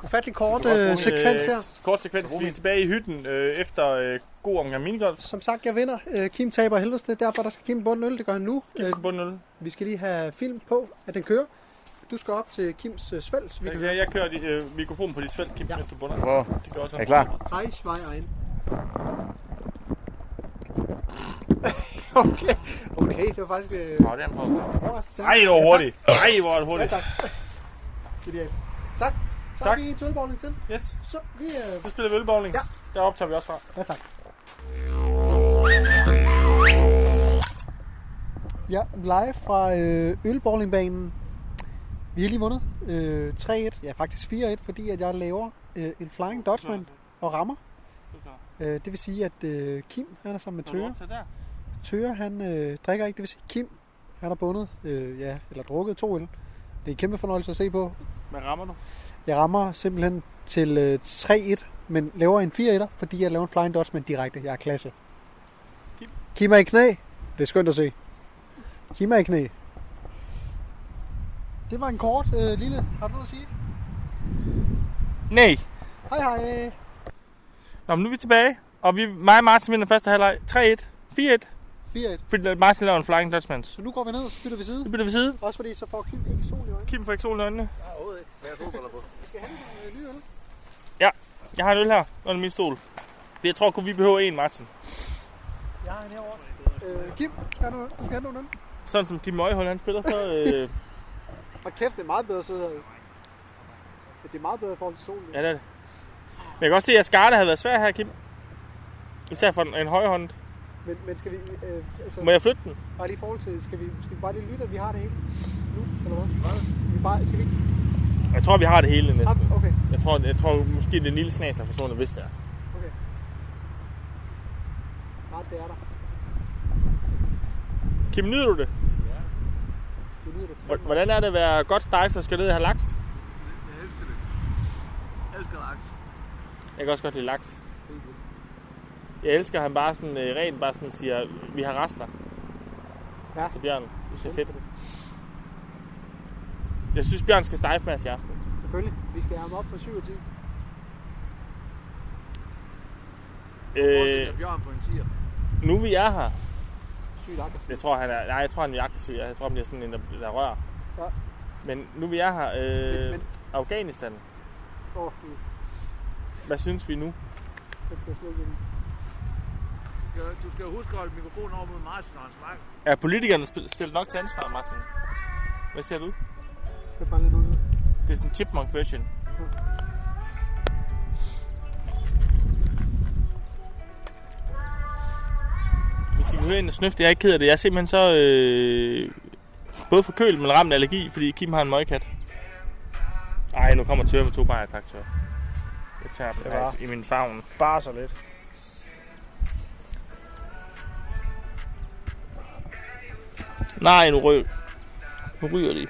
Speaker 4: Ufattelig kort øh, sekvens her.
Speaker 3: Øh, kort sekvens. Vi er tilbage i hytten øh, efter øh, god omgang minigolf.
Speaker 4: Som sagt, jeg vinder. Øh, Kim taber helvedes det. Derfor der skal Kim bunden 0. Det gør han nu.
Speaker 3: Kim
Speaker 4: Øh,
Speaker 3: skal bunde øl.
Speaker 4: vi skal lige have film på, at den kører. Du skal op til Kims øh, svælg, så vi kan høre.
Speaker 3: Jeg, jeg kører de, øh, mikrofonen på dit svend, Kim, ja. hvis du bunder.
Speaker 5: Wow.
Speaker 3: Det gør også
Speaker 5: Er I klar?
Speaker 4: Hej, Schweier ind. *laughs* okay. Okay, det var faktisk øh,
Speaker 3: Nå, det er en på.
Speaker 4: overraskende.
Speaker 3: Ej, det var
Speaker 4: Ja, tak.
Speaker 3: hurtigt. Ej, hvor er det hurtigt.
Speaker 4: Ja, tak. Genialt. øh, Tak. Så
Speaker 3: Tak.
Speaker 4: tak. vi en tølbowling til.
Speaker 3: Yes,
Speaker 4: Så vi... Øh...
Speaker 3: så spiller vi ølbowling.
Speaker 4: Ja.
Speaker 3: Der optager vi også fra.
Speaker 4: Ja, tak. Ja, live fra øh, ølbowlingbanen. Vi har lige vundet øh, 3-1, ja faktisk 4-1, fordi at jeg laver øh, en flying dutchman og rammer. Øh, det vil sige, at øh, Kim han er sammen med Tøger. Tøger, han øh, drikker ikke, det vil sige Kim, han har bundet, øh, ja, eller drukket to øl. Det er en kæmpe fornøjelse at se på.
Speaker 3: Hvad rammer du?
Speaker 4: Jeg rammer simpelthen til øh, 3-1, men laver en 4-1'er, fordi jeg laver en flying dutchman direkte. Jeg er klasse.
Speaker 3: Kim.
Speaker 4: Kim er i knæ. Det er skønt at se. Kim er i knæ. Det var en kort øh, lille. Har du noget at sige?
Speaker 3: Nej.
Speaker 4: Hej hej.
Speaker 3: Nå, men nu er vi tilbage. Og vi, mig og Martin vinder første halvleg 3-1. 4-1.
Speaker 4: 4-1.
Speaker 3: Fordi Martin laver en flying dutchmans.
Speaker 4: Så nu går vi ned og bytter ved side.
Speaker 3: Så bytter vi side.
Speaker 4: Også fordi så får Kim ikke sol i øjnene.
Speaker 3: Kim får ikke sol i øjnene.
Speaker 5: Jeg har overhovedet ikke. Hvad er fodbold på?
Speaker 4: Vi skal have nogle øh, nye øl.
Speaker 3: Jeg har en øl her under min stol. Jeg tror kun, vi behøver en, Martin.
Speaker 4: Jeg har en herovre. Øh, Kim, du skal, have nogle, øl. du skal have nogle øl.
Speaker 3: Sådan som Kim Øjhold, han spiller, så...
Speaker 4: *laughs*
Speaker 3: Øh,
Speaker 4: Og kæft, det er meget bedre at sidde her. jo. Det er meget bedre i forhold til solen.
Speaker 3: ja, det er det. Men jeg kan også se, at Skarte havde været svær her, Kim. Især for en, en højhånd.
Speaker 4: Men, men skal vi... Øh, altså...
Speaker 3: Må jeg flytte den?
Speaker 4: Bare lige i forhold til, skal vi, skal vi bare lige lytte, at vi har det hele nu, eller hvad? Skal vi bare, skal vi ikke?
Speaker 3: Jeg tror, vi har det hele
Speaker 4: Op,
Speaker 3: næsten.
Speaker 4: okay.
Speaker 3: Jeg tror, jeg tror måske, det er en lille snas, der er forsvundet, hvis det er.
Speaker 4: Nej, det er der.
Speaker 3: Kim, nyder du det?
Speaker 4: Det lyder det.
Speaker 3: Hvor- Hvordan er det at være godt stejs og skal ned og have laks?
Speaker 5: Jeg elsker det. Jeg elsker laks.
Speaker 3: Jeg kan også godt lide laks. Jeg elsker, at han bare sådan øh, rent bare sådan siger, vi har rester.
Speaker 4: Ja.
Speaker 3: Så Bjørn, du ser fedt. Jeg synes, Bjørn skal stejfe med os i aften.
Speaker 4: Selvfølgelig. Vi skal have ham op på 27.
Speaker 5: Fortsæt
Speaker 3: Øh,
Speaker 5: med Bjørn på en tier.
Speaker 3: nu vi er her,
Speaker 4: Sygt aggressivt.
Speaker 3: jeg tror, han er, nej, jeg tror, han er aggressiv. Jeg tror, han bliver sådan en, der, der rører.
Speaker 4: Ja.
Speaker 3: Men nu vi er her, øh,
Speaker 4: Men- men-
Speaker 3: Afghanistan.
Speaker 4: Åh, fy.
Speaker 3: Hvad synes vi nu?
Speaker 4: den skal jeg slet ikke ind.
Speaker 5: Skal- Du skal jo huske at holde mikrofonen over mod Martin, når han snakker.
Speaker 3: Er politikerne sp- stillet nok til ansvar, Martin? Hvad siger du?
Speaker 4: Jeg skal bare lidt ud.
Speaker 3: Det er sådan en chipmunk version. kunne høre en snøfte, jeg er ikke ked af det. Jeg er simpelthen så øh, både forkølet, men ramt af allergi, fordi Kim har en møgkat. Ej, nu kommer Tør med to bajer. Tak, Tør. Jeg tager dem
Speaker 4: Det
Speaker 3: her
Speaker 4: var-
Speaker 3: i min favn.
Speaker 4: Bare så lidt.
Speaker 3: Nej, nu røg. Nu ryger de.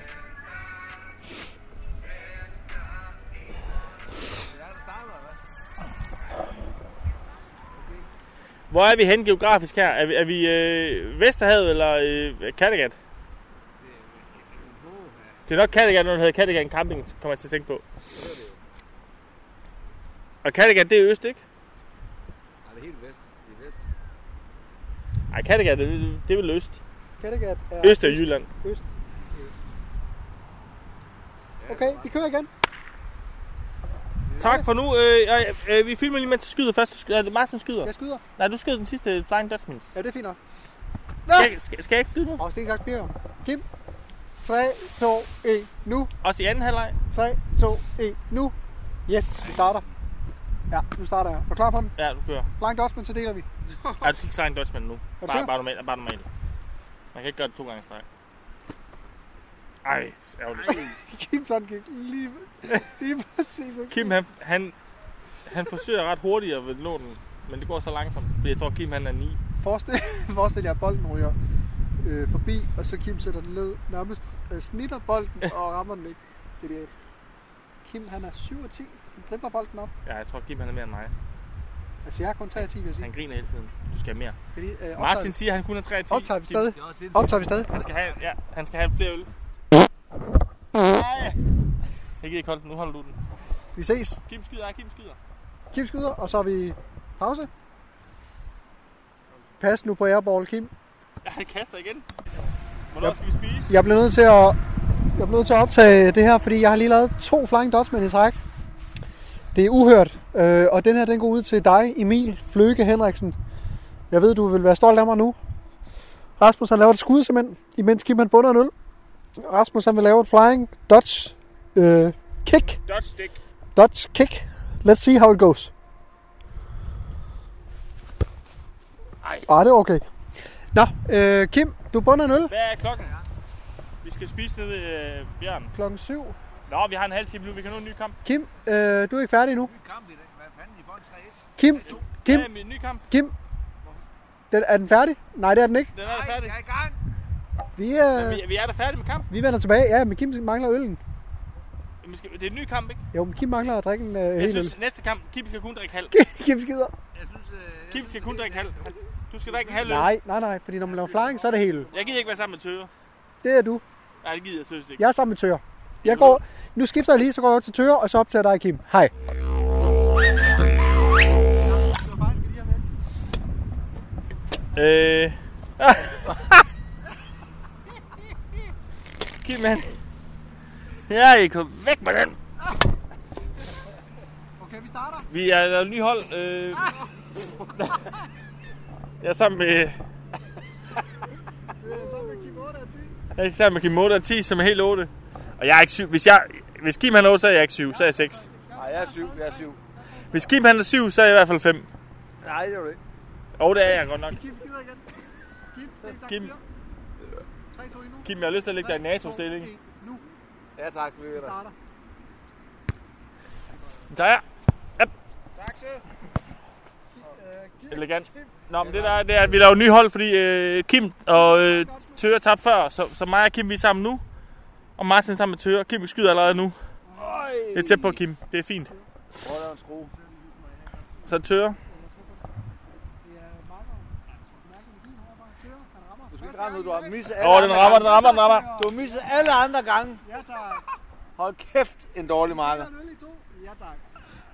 Speaker 3: Hvor er vi hen geografisk her? Er vi, er vi øh, Vesterhavet eller øh, Kattegat? Det er nok Kattegat, når den hedder Kattegat Camping, kommer jeg til at tænke på. Og Kattegat, det er øst, ikke?
Speaker 5: Nej, det er helt vest. Det er vest.
Speaker 3: Nej, Kattegat, det, det er vel øst.
Speaker 4: Kattegat er
Speaker 3: Øst af Jylland.
Speaker 4: øst. Okay, vi kører igen.
Speaker 3: Tak for nu. Øh, øh, øh, vi filmer lige, mens jeg skyder først. Du skyder- Er det Martin skyder?
Speaker 4: Jeg skyder.
Speaker 3: Nej, du skød den sidste Flying Dutchmans.
Speaker 4: Ja, det er fint nok.
Speaker 3: Skal, jeg- skal, skal jeg ikke skyde nu?
Speaker 4: Og sten, saks, papir. Kim. 3, 2, 1, nu.
Speaker 3: Også i anden halvleg?
Speaker 4: 3, 2, 1, nu. Yes, vi starter. Ja, nu starter jeg. Er du klar på den?
Speaker 3: Ja, du kører.
Speaker 4: Flying Dutchman, så deler vi.
Speaker 3: Nej, du skal ikke Flying Dutchman nu.
Speaker 4: du
Speaker 3: Bare,
Speaker 4: sikker?
Speaker 3: bare, normalt, bare normalt. Man kan ikke gøre det to gange i streg. Ej, ærgerligt.
Speaker 4: Kim sådan gik lige, lige præcis.
Speaker 3: Kim, han, han, han forsøger ret hurtigt at vende nå den, men det går så langsomt. Fordi jeg tror, Kim han er 9.
Speaker 4: Forestil, *laughs* forestil jer, at bolden ryger øh, forbi, og så Kim sætter den ned, nærmest øh, snitter
Speaker 3: *laughs*
Speaker 4: bolden og rammer den ikke. Genialt. Kim, han er 7 og 10. Han dribler bolden op.
Speaker 3: Ja, jeg tror, Kim han er mere end mig.
Speaker 4: Altså, jeg er kun 3 og 10, vil jeg sige.
Speaker 3: Han griner hele tiden. Du skal have mere.
Speaker 4: Skal lige, øh, optager,
Speaker 3: Martin siger, at han kun er 3 10.
Speaker 4: optager vi stadig? Optager vi stadig?
Speaker 3: Han skal have, ja, han skal have flere øl. Nej! Jeg gider ikke holde den. Nu holder du den.
Speaker 4: Vi ses.
Speaker 3: Kim skyder, ja, Kim skyder.
Speaker 4: Kim skyder, og så er vi pause. Pas nu på airball, Kim.
Speaker 3: Ja, han kaster igen. Hvornår skal vi spise?
Speaker 4: Jeg bliver nødt til at, jeg bliver nødt til at optage det her, fordi jeg har lige lavet to Flying Dutchman i træk. Det er uhørt, øh, og den her den går ud til dig, Emil Fløke Henriksen. Jeg ved, du vil være stolt af mig nu. Rasmus han laver et skud simpelthen, imens Kim han bunder en øl. Rasmus han vil lave et Flying Dutch øh, kick.
Speaker 3: Dodge stick.
Speaker 4: Dutch kick. Let's see how it goes.
Speaker 3: Ej.
Speaker 4: Ej, det er okay. Nå, øh, Kim, du bunder en øl
Speaker 3: Hvad er klokken? Vi skal spise nede ved øh, Bjørn.
Speaker 4: klokken 7.
Speaker 3: Nå, vi har en halv time nu. Vi kan nå en ny kamp.
Speaker 4: Kim, øh, du er ikke færdig endnu.
Speaker 5: Ny kamp i dag. Hvad fanden, I får en 3-1?
Speaker 4: Kim, Kim,
Speaker 3: Ja, en Øh, ny kamp.
Speaker 4: Kim. Den, er den færdig? Nej, det er den ikke.
Speaker 3: Den er da færdig.
Speaker 5: i gang.
Speaker 4: Vi, øh,
Speaker 3: Vi, vi er da færdige med kamp.
Speaker 4: vi vender tilbage. Ja, men Kim mangler øllen.
Speaker 3: Vi skal, det er en ny kamp, ikke?
Speaker 4: Jo, men Kim mangler at drikke en øh,
Speaker 3: Jeg
Speaker 4: hel øl. *laughs*
Speaker 3: synes, næste kamp, Kim skal kun drikke halv.
Speaker 4: Kim skider.
Speaker 5: Jeg synes... Øh,
Speaker 3: Kim skal kun drikke halv. Han- Du skal drikke en halv øl.
Speaker 4: Nej, nej, nej. Fordi når man laver flying, så er det hel øl.
Speaker 3: Jeg gider ikke være sammen med Tøger.
Speaker 4: Det er du.
Speaker 3: Nej, det gider jeg synes ikke.
Speaker 4: Jeg er sammen med Tør. Jeg går, nu skifter jeg lige, så går jeg over til Tør, og så optager dig, Kim. Hej.
Speaker 3: Øh. *laughs* Kim, han. Ja, I kom væk med den.
Speaker 4: Okay, vi starter.
Speaker 3: Vi er der er et nyt hold. Øh... jeg er sammen med,
Speaker 4: Så med Kim 8 og 10.
Speaker 3: jeg er sammen med Kim 8 og 10, som er helt 8. Og jeg er ikke 7. Hvis, jeg, hvis Kim han er 8, så er jeg ikke 7, så er jeg 6.
Speaker 5: Nej, jeg er syv. Jeg er syv.
Speaker 3: Hvis Kim han er 7, så er jeg i hvert fald 5.
Speaker 5: Nej, det er du ikke.
Speaker 3: Og det er jeg godt nok.
Speaker 4: Kim skider igen. Kim, det er
Speaker 3: Kim.
Speaker 4: 3, 2, 1 nu.
Speaker 3: Kim, jeg har lyst til at lægge dig i NATO-stilling.
Speaker 4: Nu
Speaker 5: Ja, tak. Vi er der.
Speaker 4: starter.
Speaker 3: Den tager jeg.
Speaker 5: Tak, så.
Speaker 3: Elegant. Nå, men det der er, det er, at vi laver nye hold, fordi øh, Kim og øh, Tøre tabte før, så, så mig og Kim vi er sammen nu. Og Martin er sammen med Tøre. Kim skyder allerede nu. Det er tæt på, Kim. Det er fint.
Speaker 5: Prøv at lave en skrue.
Speaker 3: Så Tøre.
Speaker 5: Du skal ikke ramme, noget. du har misset alle
Speaker 3: Åh, den
Speaker 5: andre
Speaker 3: rammer, den
Speaker 5: gange.
Speaker 3: rammer, den rammer.
Speaker 5: Du har misset alle andre gange.
Speaker 4: Ja, tak.
Speaker 5: Hold kæft, en dårlig marker.
Speaker 4: øl i to. Ja, tak.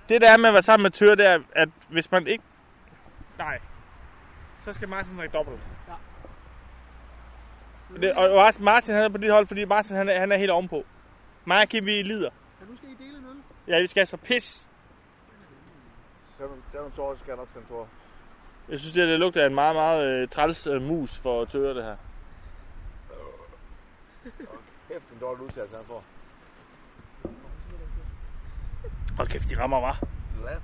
Speaker 3: Det der er med at være sammen med Tøre, det er, at hvis man ikke... Nej. Så skal Martin drikke dobbelt. Det, og og også Martin han er på dit hold, fordi Martin han er, han er helt ovenpå. Mig og Kim, vi lider.
Speaker 4: Men nu skal I dele en øl.
Speaker 3: Ja, vi skal altså så pis.
Speaker 5: Der er nogle- der er nogle tårer, så skal jeg nok sende tårer.
Speaker 3: Jeg synes, det, her, det lugter af en meget, meget øh, træls øh, mus for Tøre, det her.
Speaker 5: Kæft, en dårlig udtalelse, han får.
Speaker 3: Hold kæft, de rammer, var.
Speaker 5: Lad.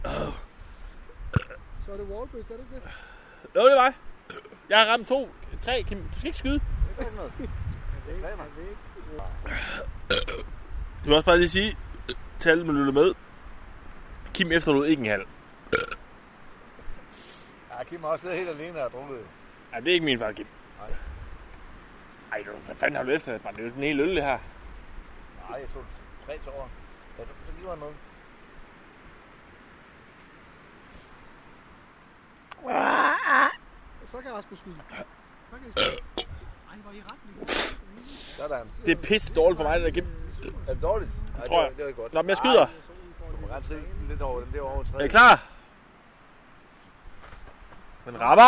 Speaker 4: Så er det Wallbridge, er det ikke det?
Speaker 3: Jo, det var jeg. Jeg har ramt to, tre, Kim. Du skal ikke skyde.
Speaker 5: Det er ikke noget. Jeg træner.
Speaker 3: Du vil også bare lige sige, til alle, man lytter med, Kim efterlod ikke en halv.
Speaker 5: Ja, Kim har også siddet helt alene og drukket.
Speaker 3: Ja, det er ikke min far, Kim.
Speaker 5: Nej.
Speaker 3: Ej, du, hvad fanden har du efter? Det er jo den hele øl, det her.
Speaker 5: Nej, jeg tog tre tårer. Jeg tog, så giver han noget.
Speaker 4: Så kan Rasmus skyde. Så kan I skyde. Ej, hvor er I ret, lige.
Speaker 5: Sådan.
Speaker 3: Det er pisse dårligt for mig, det der Kim.
Speaker 5: Er det dårligt? Nej,
Speaker 3: Tror jeg.
Speaker 5: det var, det var ikke godt.
Speaker 3: Nå, men jeg skyder.
Speaker 5: Ej, du må gerne trive lidt over den der over træet.
Speaker 3: Er I klar? Den rammer!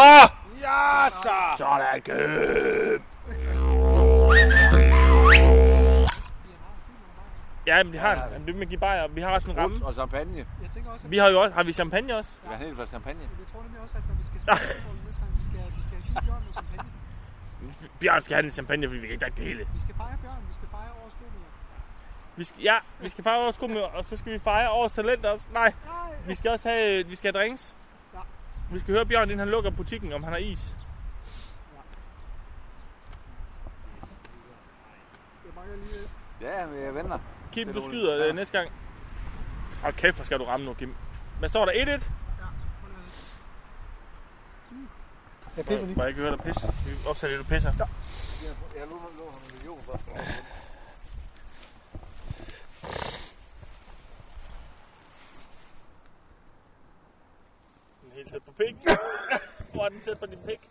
Speaker 5: Ja, så!
Speaker 3: Sådan, Kim! Ja, men det har han. Jamen, det er med Gibajer. Vi har også en ramme.
Speaker 5: Rut og champagne.
Speaker 4: Jeg tænker også, at
Speaker 3: Vi har jo også, har vi champagne også?
Speaker 5: Det er helt fra champagne.
Speaker 4: Jeg tror nemlig også, at når vi skal
Speaker 3: *laughs*
Speaker 4: spille fodbold i nedtræning, vi skal, vi skal give Bjørn noget champagne.
Speaker 3: Bjørn skal have den champagne, fordi vi kan ikke drikke det hele.
Speaker 4: Vi skal fejre Bjørn, vi skal fejre årets gode
Speaker 3: Vi skal, ja, vi skal fejre årets gruppe, og så skal vi fejre årets talent også. Nej,
Speaker 4: Nej,
Speaker 3: vi skal også have, vi skal have drinks.
Speaker 4: Ja.
Speaker 3: Vi skal høre Bjørn, inden han lukker butikken, om han har is.
Speaker 4: jeg mangler lige...
Speaker 5: Ja, men jeg venter.
Speaker 3: Kim,
Speaker 5: Det
Speaker 3: du
Speaker 5: er roligt.
Speaker 3: skyder
Speaker 5: Ja.
Speaker 3: øh, næste gang. Og kæft, hvor skal du ramme nu, Kim. Hvad står der? 1-1?
Speaker 4: Jeg pisser lige.
Speaker 3: Må jeg ikke høre dig pisse? Vi optager det, du pisser. Ja.
Speaker 5: Jeg lå- lå ham en million for.
Speaker 3: Den er helt tæt på
Speaker 4: *laughs*
Speaker 3: pik. Hvor er den tæt på din pik?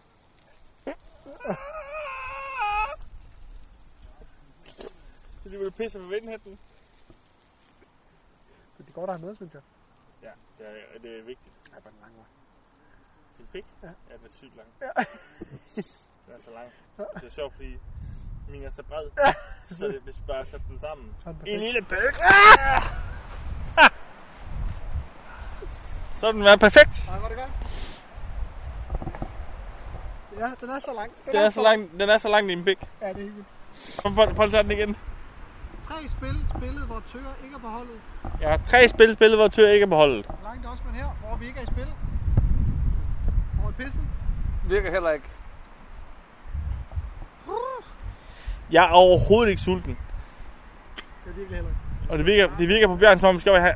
Speaker 3: Fordi du vil pisse med vindhætten.
Speaker 4: Det er godt at have med, synes jeg.
Speaker 3: Ja, det er, det er vigtigt. Ja, bare den lange vej. Til pik? Ja. ja. den er sygt lang. Ja. *laughs* den er så lang. Det er sjovt, fordi min er så bred, så det, hvis vi bare sætter dem sammen.
Speaker 4: Så er den
Speaker 3: I en
Speaker 4: perfekt.
Speaker 3: lille bæk. Ah! Ah! *laughs* Så er den været perfekt.
Speaker 4: Ej, var det godt. Ja, den er så lang. Den,
Speaker 3: Den er så lang, den er så lang, din pik.
Speaker 4: Ja, det er hyggeligt.
Speaker 3: Prøv- Prøv prøv at tage den igen.
Speaker 4: Tre spil spillet, hvor Tøger ikke er på holdet.
Speaker 3: Jeg har tre spil spillet, hvor Tør ikke er på holdet.
Speaker 4: Langt også, men her, hvor vi ikke er i spil. Hvor er pissen?
Speaker 5: Virker heller ikke.
Speaker 3: Jeg er overhovedet ikke sulten.
Speaker 4: Jeg er virkelig heller ikke.
Speaker 3: Og det virker, det virker på Bjørn, som om vi skal op og have...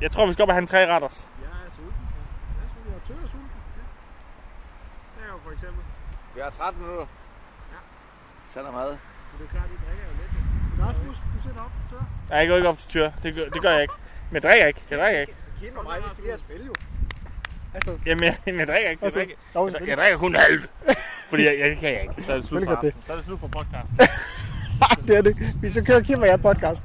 Speaker 3: Jeg tror, vi skal op og have en tre retters.
Speaker 9: Jeg er sulten.
Speaker 4: Jeg synes, jeg er Tøger sulten.
Speaker 9: Det er jo for eksempel.
Speaker 5: Vi har 13 minutter. Sådan er mad.
Speaker 9: Men det er klart, at de drikker jo lidt.
Speaker 4: Rasmus, du sætter op, Tøger.
Speaker 3: Nej, jeg går ikke op til Tør. Det gør, det gør jeg ikke. Men jeg drikker ikke. Jeg drikker ikke.
Speaker 9: Kim og mig, vi skal lige have spil, jo.
Speaker 3: Jamen, *laughs* jeg, jeg drikker ikke. Jeg
Speaker 4: Astrid.
Speaker 3: drikker,
Speaker 4: Altså, Jo,
Speaker 3: jeg, jeg drikker kun halv. Fordi jeg, jeg det kan jeg ikke. Så er det slut for
Speaker 4: Selvfølgelig
Speaker 3: aftenen. Så er det slut for podcasten.
Speaker 4: det er det. Vi så kører Kim og jeg
Speaker 9: *laughs*
Speaker 4: podcast.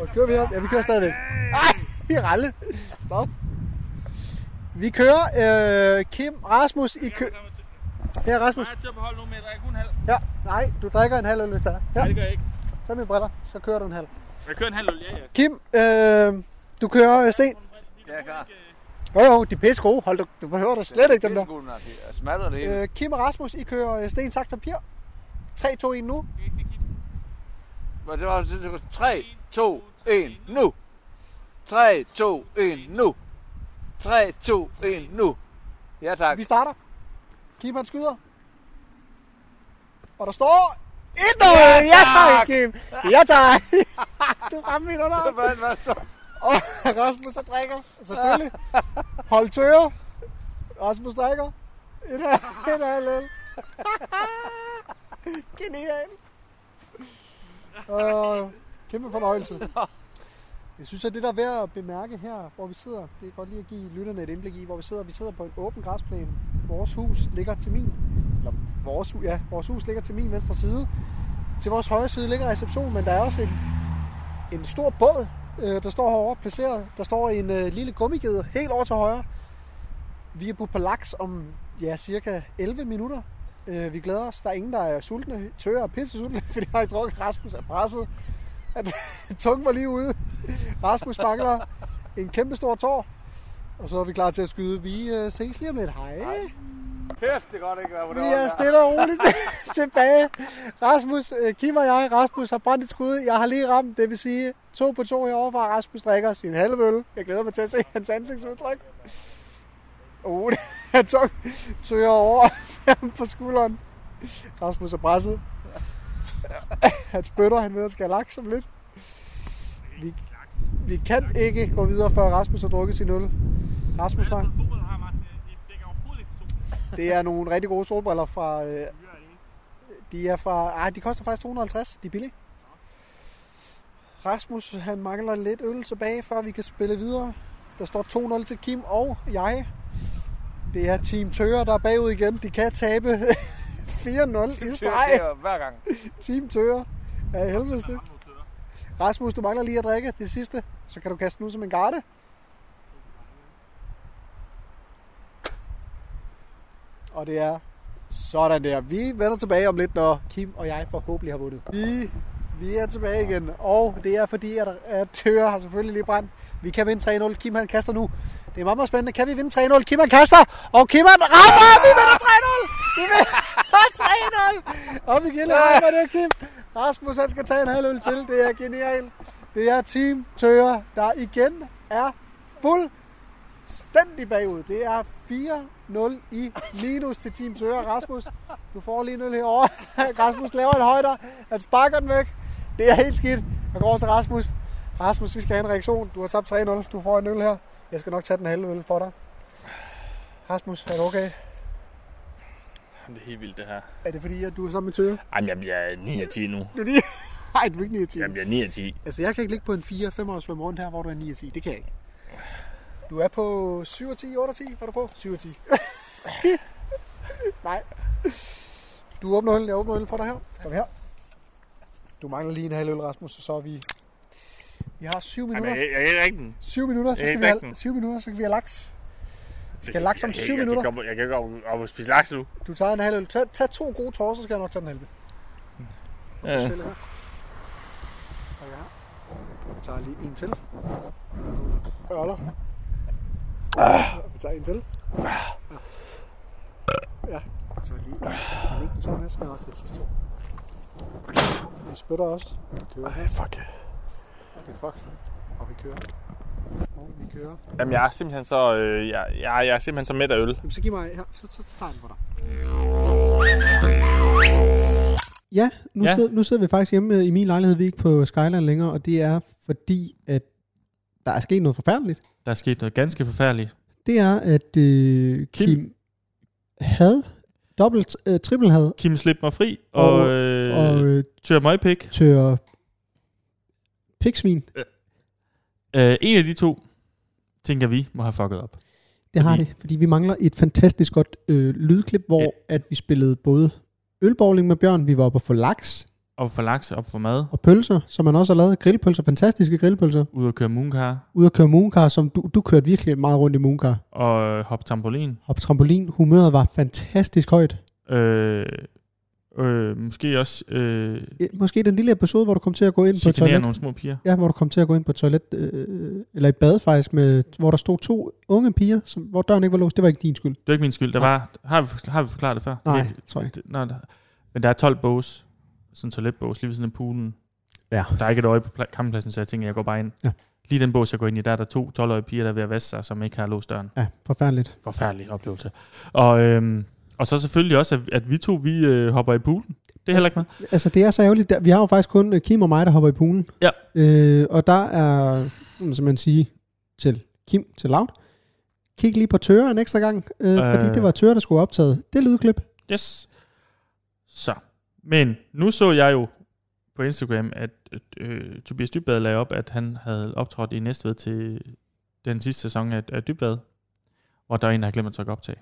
Speaker 4: Og kører vi op? Ja, vi kører stadigvæk. Ej, vi er ralle. Stop. Vi kører øh, Kim, Rasmus i kø... Her er Rasmus.
Speaker 3: Jeg er til at beholde nu, men jeg drikker kun halv.
Speaker 4: Ja, nej, du drikker en halv øl, hvis der er.
Speaker 3: Nej,
Speaker 4: Ja,
Speaker 3: det gør jeg ikke.
Speaker 4: tag mine briller, så kører du en halv.
Speaker 3: Jeg kører en halv øl, ja, ja.
Speaker 4: Kim, øh, du kører øh, sten.
Speaker 5: Ja, klar.
Speaker 3: øh,
Speaker 4: Jo, jo, de er pisse gode. Hold, du, du behøver da slet ikke dem der.
Speaker 5: Skolen, altså. Smadrer det hele.
Speaker 4: Øh, Kim og Rasmus, I kører øh, sten, saks, papir. 3, 2, 1 nu.
Speaker 5: Men Det var, det var 3, 2, 1, nu! 3, 2, 1, nu! 3, 2, 1, nu! Ja tak.
Speaker 4: Vi starter. Kim han skyder. Og der står 1-0. Ja, tak, Kim. Ja, tak. *laughs* du ramte min under.
Speaker 5: *laughs* Hvad, hvad så?
Speaker 4: Og *laughs* Rasmus så drikker. Selvfølgelig. Hold tøger. Rasmus drikker. En halv, *laughs* en halv øl. Genial. Øh, kæmpe fornøjelse. Jeg synes, at det der er værd at bemærke her, hvor vi sidder, det er godt lige at give lytterne et indblik i, hvor vi sidder. Vi sidder på en åben græsplæne. Vores hus ligger til min, eller vores, hu- ja, vores hus ligger til min venstre side. Til vores højre side ligger receptionen, men der er også en, en stor båd, øh, der står herovre placeret. Der står en øh, lille gummigede helt over til højre. Vi er på Palax om ja, cirka 11 minutter. Øh, vi glæder os. Der er ingen, der er sultne, tørre og pisse sultne, *laughs* fordi jeg har ikke drukket. Rasmus er presset. At, *laughs* tungen var lige ude. Rasmus mangler en kæmpe stor tår. Og så er vi klar til at skyde. Vi øh, ses lige om lidt. Hej.
Speaker 5: Kæft, det kan godt ikke være, hvor
Speaker 4: Vi
Speaker 5: det
Speaker 4: er stille og roligt *laughs* til- tilbage. Rasmus, øh, Kim og jeg, Rasmus har brændt et skud. Jeg har lige ramt, det vil sige to på to herovre fra Rasmus drikker sin halve øl. *laughs* Jeg glæder mig til at se hans ansigtsudtryk. Oh, det er tungt. Tøger over *laughs* på skulderen. Rasmus er presset. *laughs* Han spytter, han ved, at han skal have laks om lidt. Vi, vi kan ikke gå videre, før Rasmus har drukket sin øl. Rasmus, var,
Speaker 3: øh,
Speaker 4: det er nogle rigtig gode solbriller fra... Øh, de er fra... Ah, de koster faktisk 250. De er billige. Rasmus, han mangler lidt øl tilbage, før vi kan spille videre. Der står 2-0 til Kim og jeg. Det er Team Tøger, der er bagud igen. De kan tabe *laughs* 4-0 i streg.
Speaker 2: Hver gang.
Speaker 4: *laughs* Team Tøger. Ja, helvedes det. Rasmus, du mangler lige at drikke det sidste. Så kan du kaste den ud som en garde. Og det er sådan der. Vi vender tilbage om lidt, når Kim og jeg forhåbentlig har vundet. Vi, vi er tilbage igen, og det er fordi, at, at Tøger har selvfølgelig lige brændt. Vi kan vinde 3-0. Kim han kaster nu. Det er meget, meget spændende. Kan vi vinde 3-0? Kim han kaster, og Kim han rammer! Vi vinder 3-0! Vi *laughs* vinder 3-0! Og vi gælder rammer det, Kim. Rasmus han skal tage en halv øl til. Det er genialt. Det er Team Tøger, der igen er fuld fuldstændig bagud. Det er 4-0 i minus til Team Søger. Rasmus, du får lige en øl herovre. *laughs* Rasmus laver en højder. Han sparker den væk. Det er helt skidt. Jeg går over til Rasmus. Rasmus, vi skal have en reaktion. Du har tabt 3-0. Du får en øl her. Jeg skal nok tage den halve øl for dig. Rasmus, er du okay?
Speaker 3: Det er helt vildt, det her.
Speaker 4: Er det fordi, at du er sammen med Tøger?
Speaker 3: Jamen, jeg bliver 9 af 10 nu.
Speaker 4: Du er lige... *laughs* Ej, du er ikke 9 10.
Speaker 3: Jeg bliver 9 af 10.
Speaker 4: Altså, jeg kan ikke ligge på en 4-5 og svømme rundt her, hvor du er 9 10. Det kan jeg ikke. Du er på 7 og 10, 8 og 10. Var du på? 7 og 10. *laughs* Nej. Du åbner øl, jeg åbner øl for dig her. Kom her. Du mangler lige en halv øl, Rasmus, og så er vi... Vi har 7
Speaker 3: Jamen,
Speaker 4: minutter.
Speaker 3: jeg, jeg kan ikke drikke den.
Speaker 4: 7 minutter, så
Speaker 3: jeg
Speaker 4: skal
Speaker 3: kan
Speaker 4: vi
Speaker 3: drikke
Speaker 4: have,
Speaker 3: den.
Speaker 4: 7 minutter, så skal vi have laks. Vi skal have laks om
Speaker 3: Jeg kan
Speaker 4: 7
Speaker 3: ikke-
Speaker 4: minutter.
Speaker 3: Jeg kan, jeg kan ikke op, op og spise laks nu.
Speaker 4: Du tager en halv øl. Tag, tag to gode tårer, så skal jeg nok tage den halve.
Speaker 3: Ja.
Speaker 4: Spille her. Og ja. Jeg tager lige en til. Øller.
Speaker 3: Ah.
Speaker 4: Vi tager en til. Ja, jeg tager lige en enkelt to med, så skal jeg også til sidste to. Vi spytter også. Vi kører.
Speaker 3: Ej, fuck.
Speaker 4: Okay, fuck. Og vi kører. Og vi kører.
Speaker 3: Jamen, jeg er simpelthen så, øh, jeg, jeg, jeg er simpelthen så mæt af øl.
Speaker 4: Jamen, så giv mig her. Så, så, så tager jeg den for dig. Ja, nu, ja.
Speaker 3: Ja.
Speaker 4: Sidder, nu sidder vi faktisk hjemme øh, i min lejlighed. Vi er ikke på Skyland længere, og det er fordi, at der er sket noget forfærdeligt.
Speaker 3: Der er sket noget ganske forfærdeligt.
Speaker 4: Det er, at øh, Kim, Kim
Speaker 3: Kim.
Speaker 4: havde dobbelt, øh, trippel had,
Speaker 3: Kim slip mig fri
Speaker 4: Og-
Speaker 3: og, og,
Speaker 4: øh. og
Speaker 3: øh,
Speaker 4: øh,
Speaker 3: tør mig pik.
Speaker 4: tør piksvin.
Speaker 3: Øh, en af de to, tænker vi, må have fucket op.
Speaker 4: Det har
Speaker 3: Fordi-
Speaker 4: det, fordi vi mangler et fantastisk godt øh, lydklip, hvor
Speaker 3: Ja.
Speaker 4: at vi spillede både ølbowling med Bjørn, vi var oppe og få laks
Speaker 3: Op for laks, op for mad,
Speaker 4: og pølser, som man også har lavet. Grillpølser, fantastiske grillpølser.
Speaker 3: ud og køre mooncar
Speaker 4: Ude at køre moonkar, som du, du kørte virkelig meget rundt i moonkar.
Speaker 3: og øh, hoppe trampolin.
Speaker 4: Og på trampolin, humøret var fantastisk højt.
Speaker 3: Øh, øh, måske også øh,
Speaker 4: Eh, Måske den lille episode, hvor du kom til at gå ind på et
Speaker 3: chikanere
Speaker 4: toilet.
Speaker 3: nogle små piger.
Speaker 4: Ja, hvor du kom til at gå ind på et toilet, øh, eller et bad faktisk, med, hvor der stod to unge piger, som, hvor døren ikke var låst. Det var ikke din skyld.
Speaker 3: Det er ikke min skyld. Der var, har, vi, har vi forklaret det før?
Speaker 4: Nej,
Speaker 3: Det-
Speaker 4: tror jeg
Speaker 3: det- Nej, der, men der er 12 bås. Sådan en toiletbås lige ved siden af poolen.
Speaker 4: Ja.
Speaker 3: Der er ikke et øje på pla- kamppladsen, så jeg tænker, jeg går bare ind.
Speaker 4: Ja.
Speaker 3: Lige den bås, jeg går ind i, der er der to 12-årige piger, der er ved at vaske sig, som ikke har låst døren.
Speaker 4: Ja, forfærdeligt.
Speaker 3: Forfærdelig oplevelse. Og, øhm, og så selvfølgelig også, at, at vi to, vi øh, hopper i poolen. Det er heller ikke noget.
Speaker 4: Altså, det er så ærgerligt. Der- Vi har jo faktisk kun øh, Kim og mig, der hopper i poolen.
Speaker 3: Ja.
Speaker 4: Øh, og der er, mm, som man siger, til Kim, til Loud. Kig lige på Tøre en ekstra gang, øh, øh. fordi
Speaker 3: Øh.
Speaker 4: det var Tøre, der skulle have optaget det lydklip.
Speaker 3: Yes. Så. Men nu så jeg jo på Instagram, at øh, Tobias Dybvad lagde op, at han havde optrådt i Næstved til den sidste sæson af, af Dybvad. Og der er en, der har glemt at trykke optag.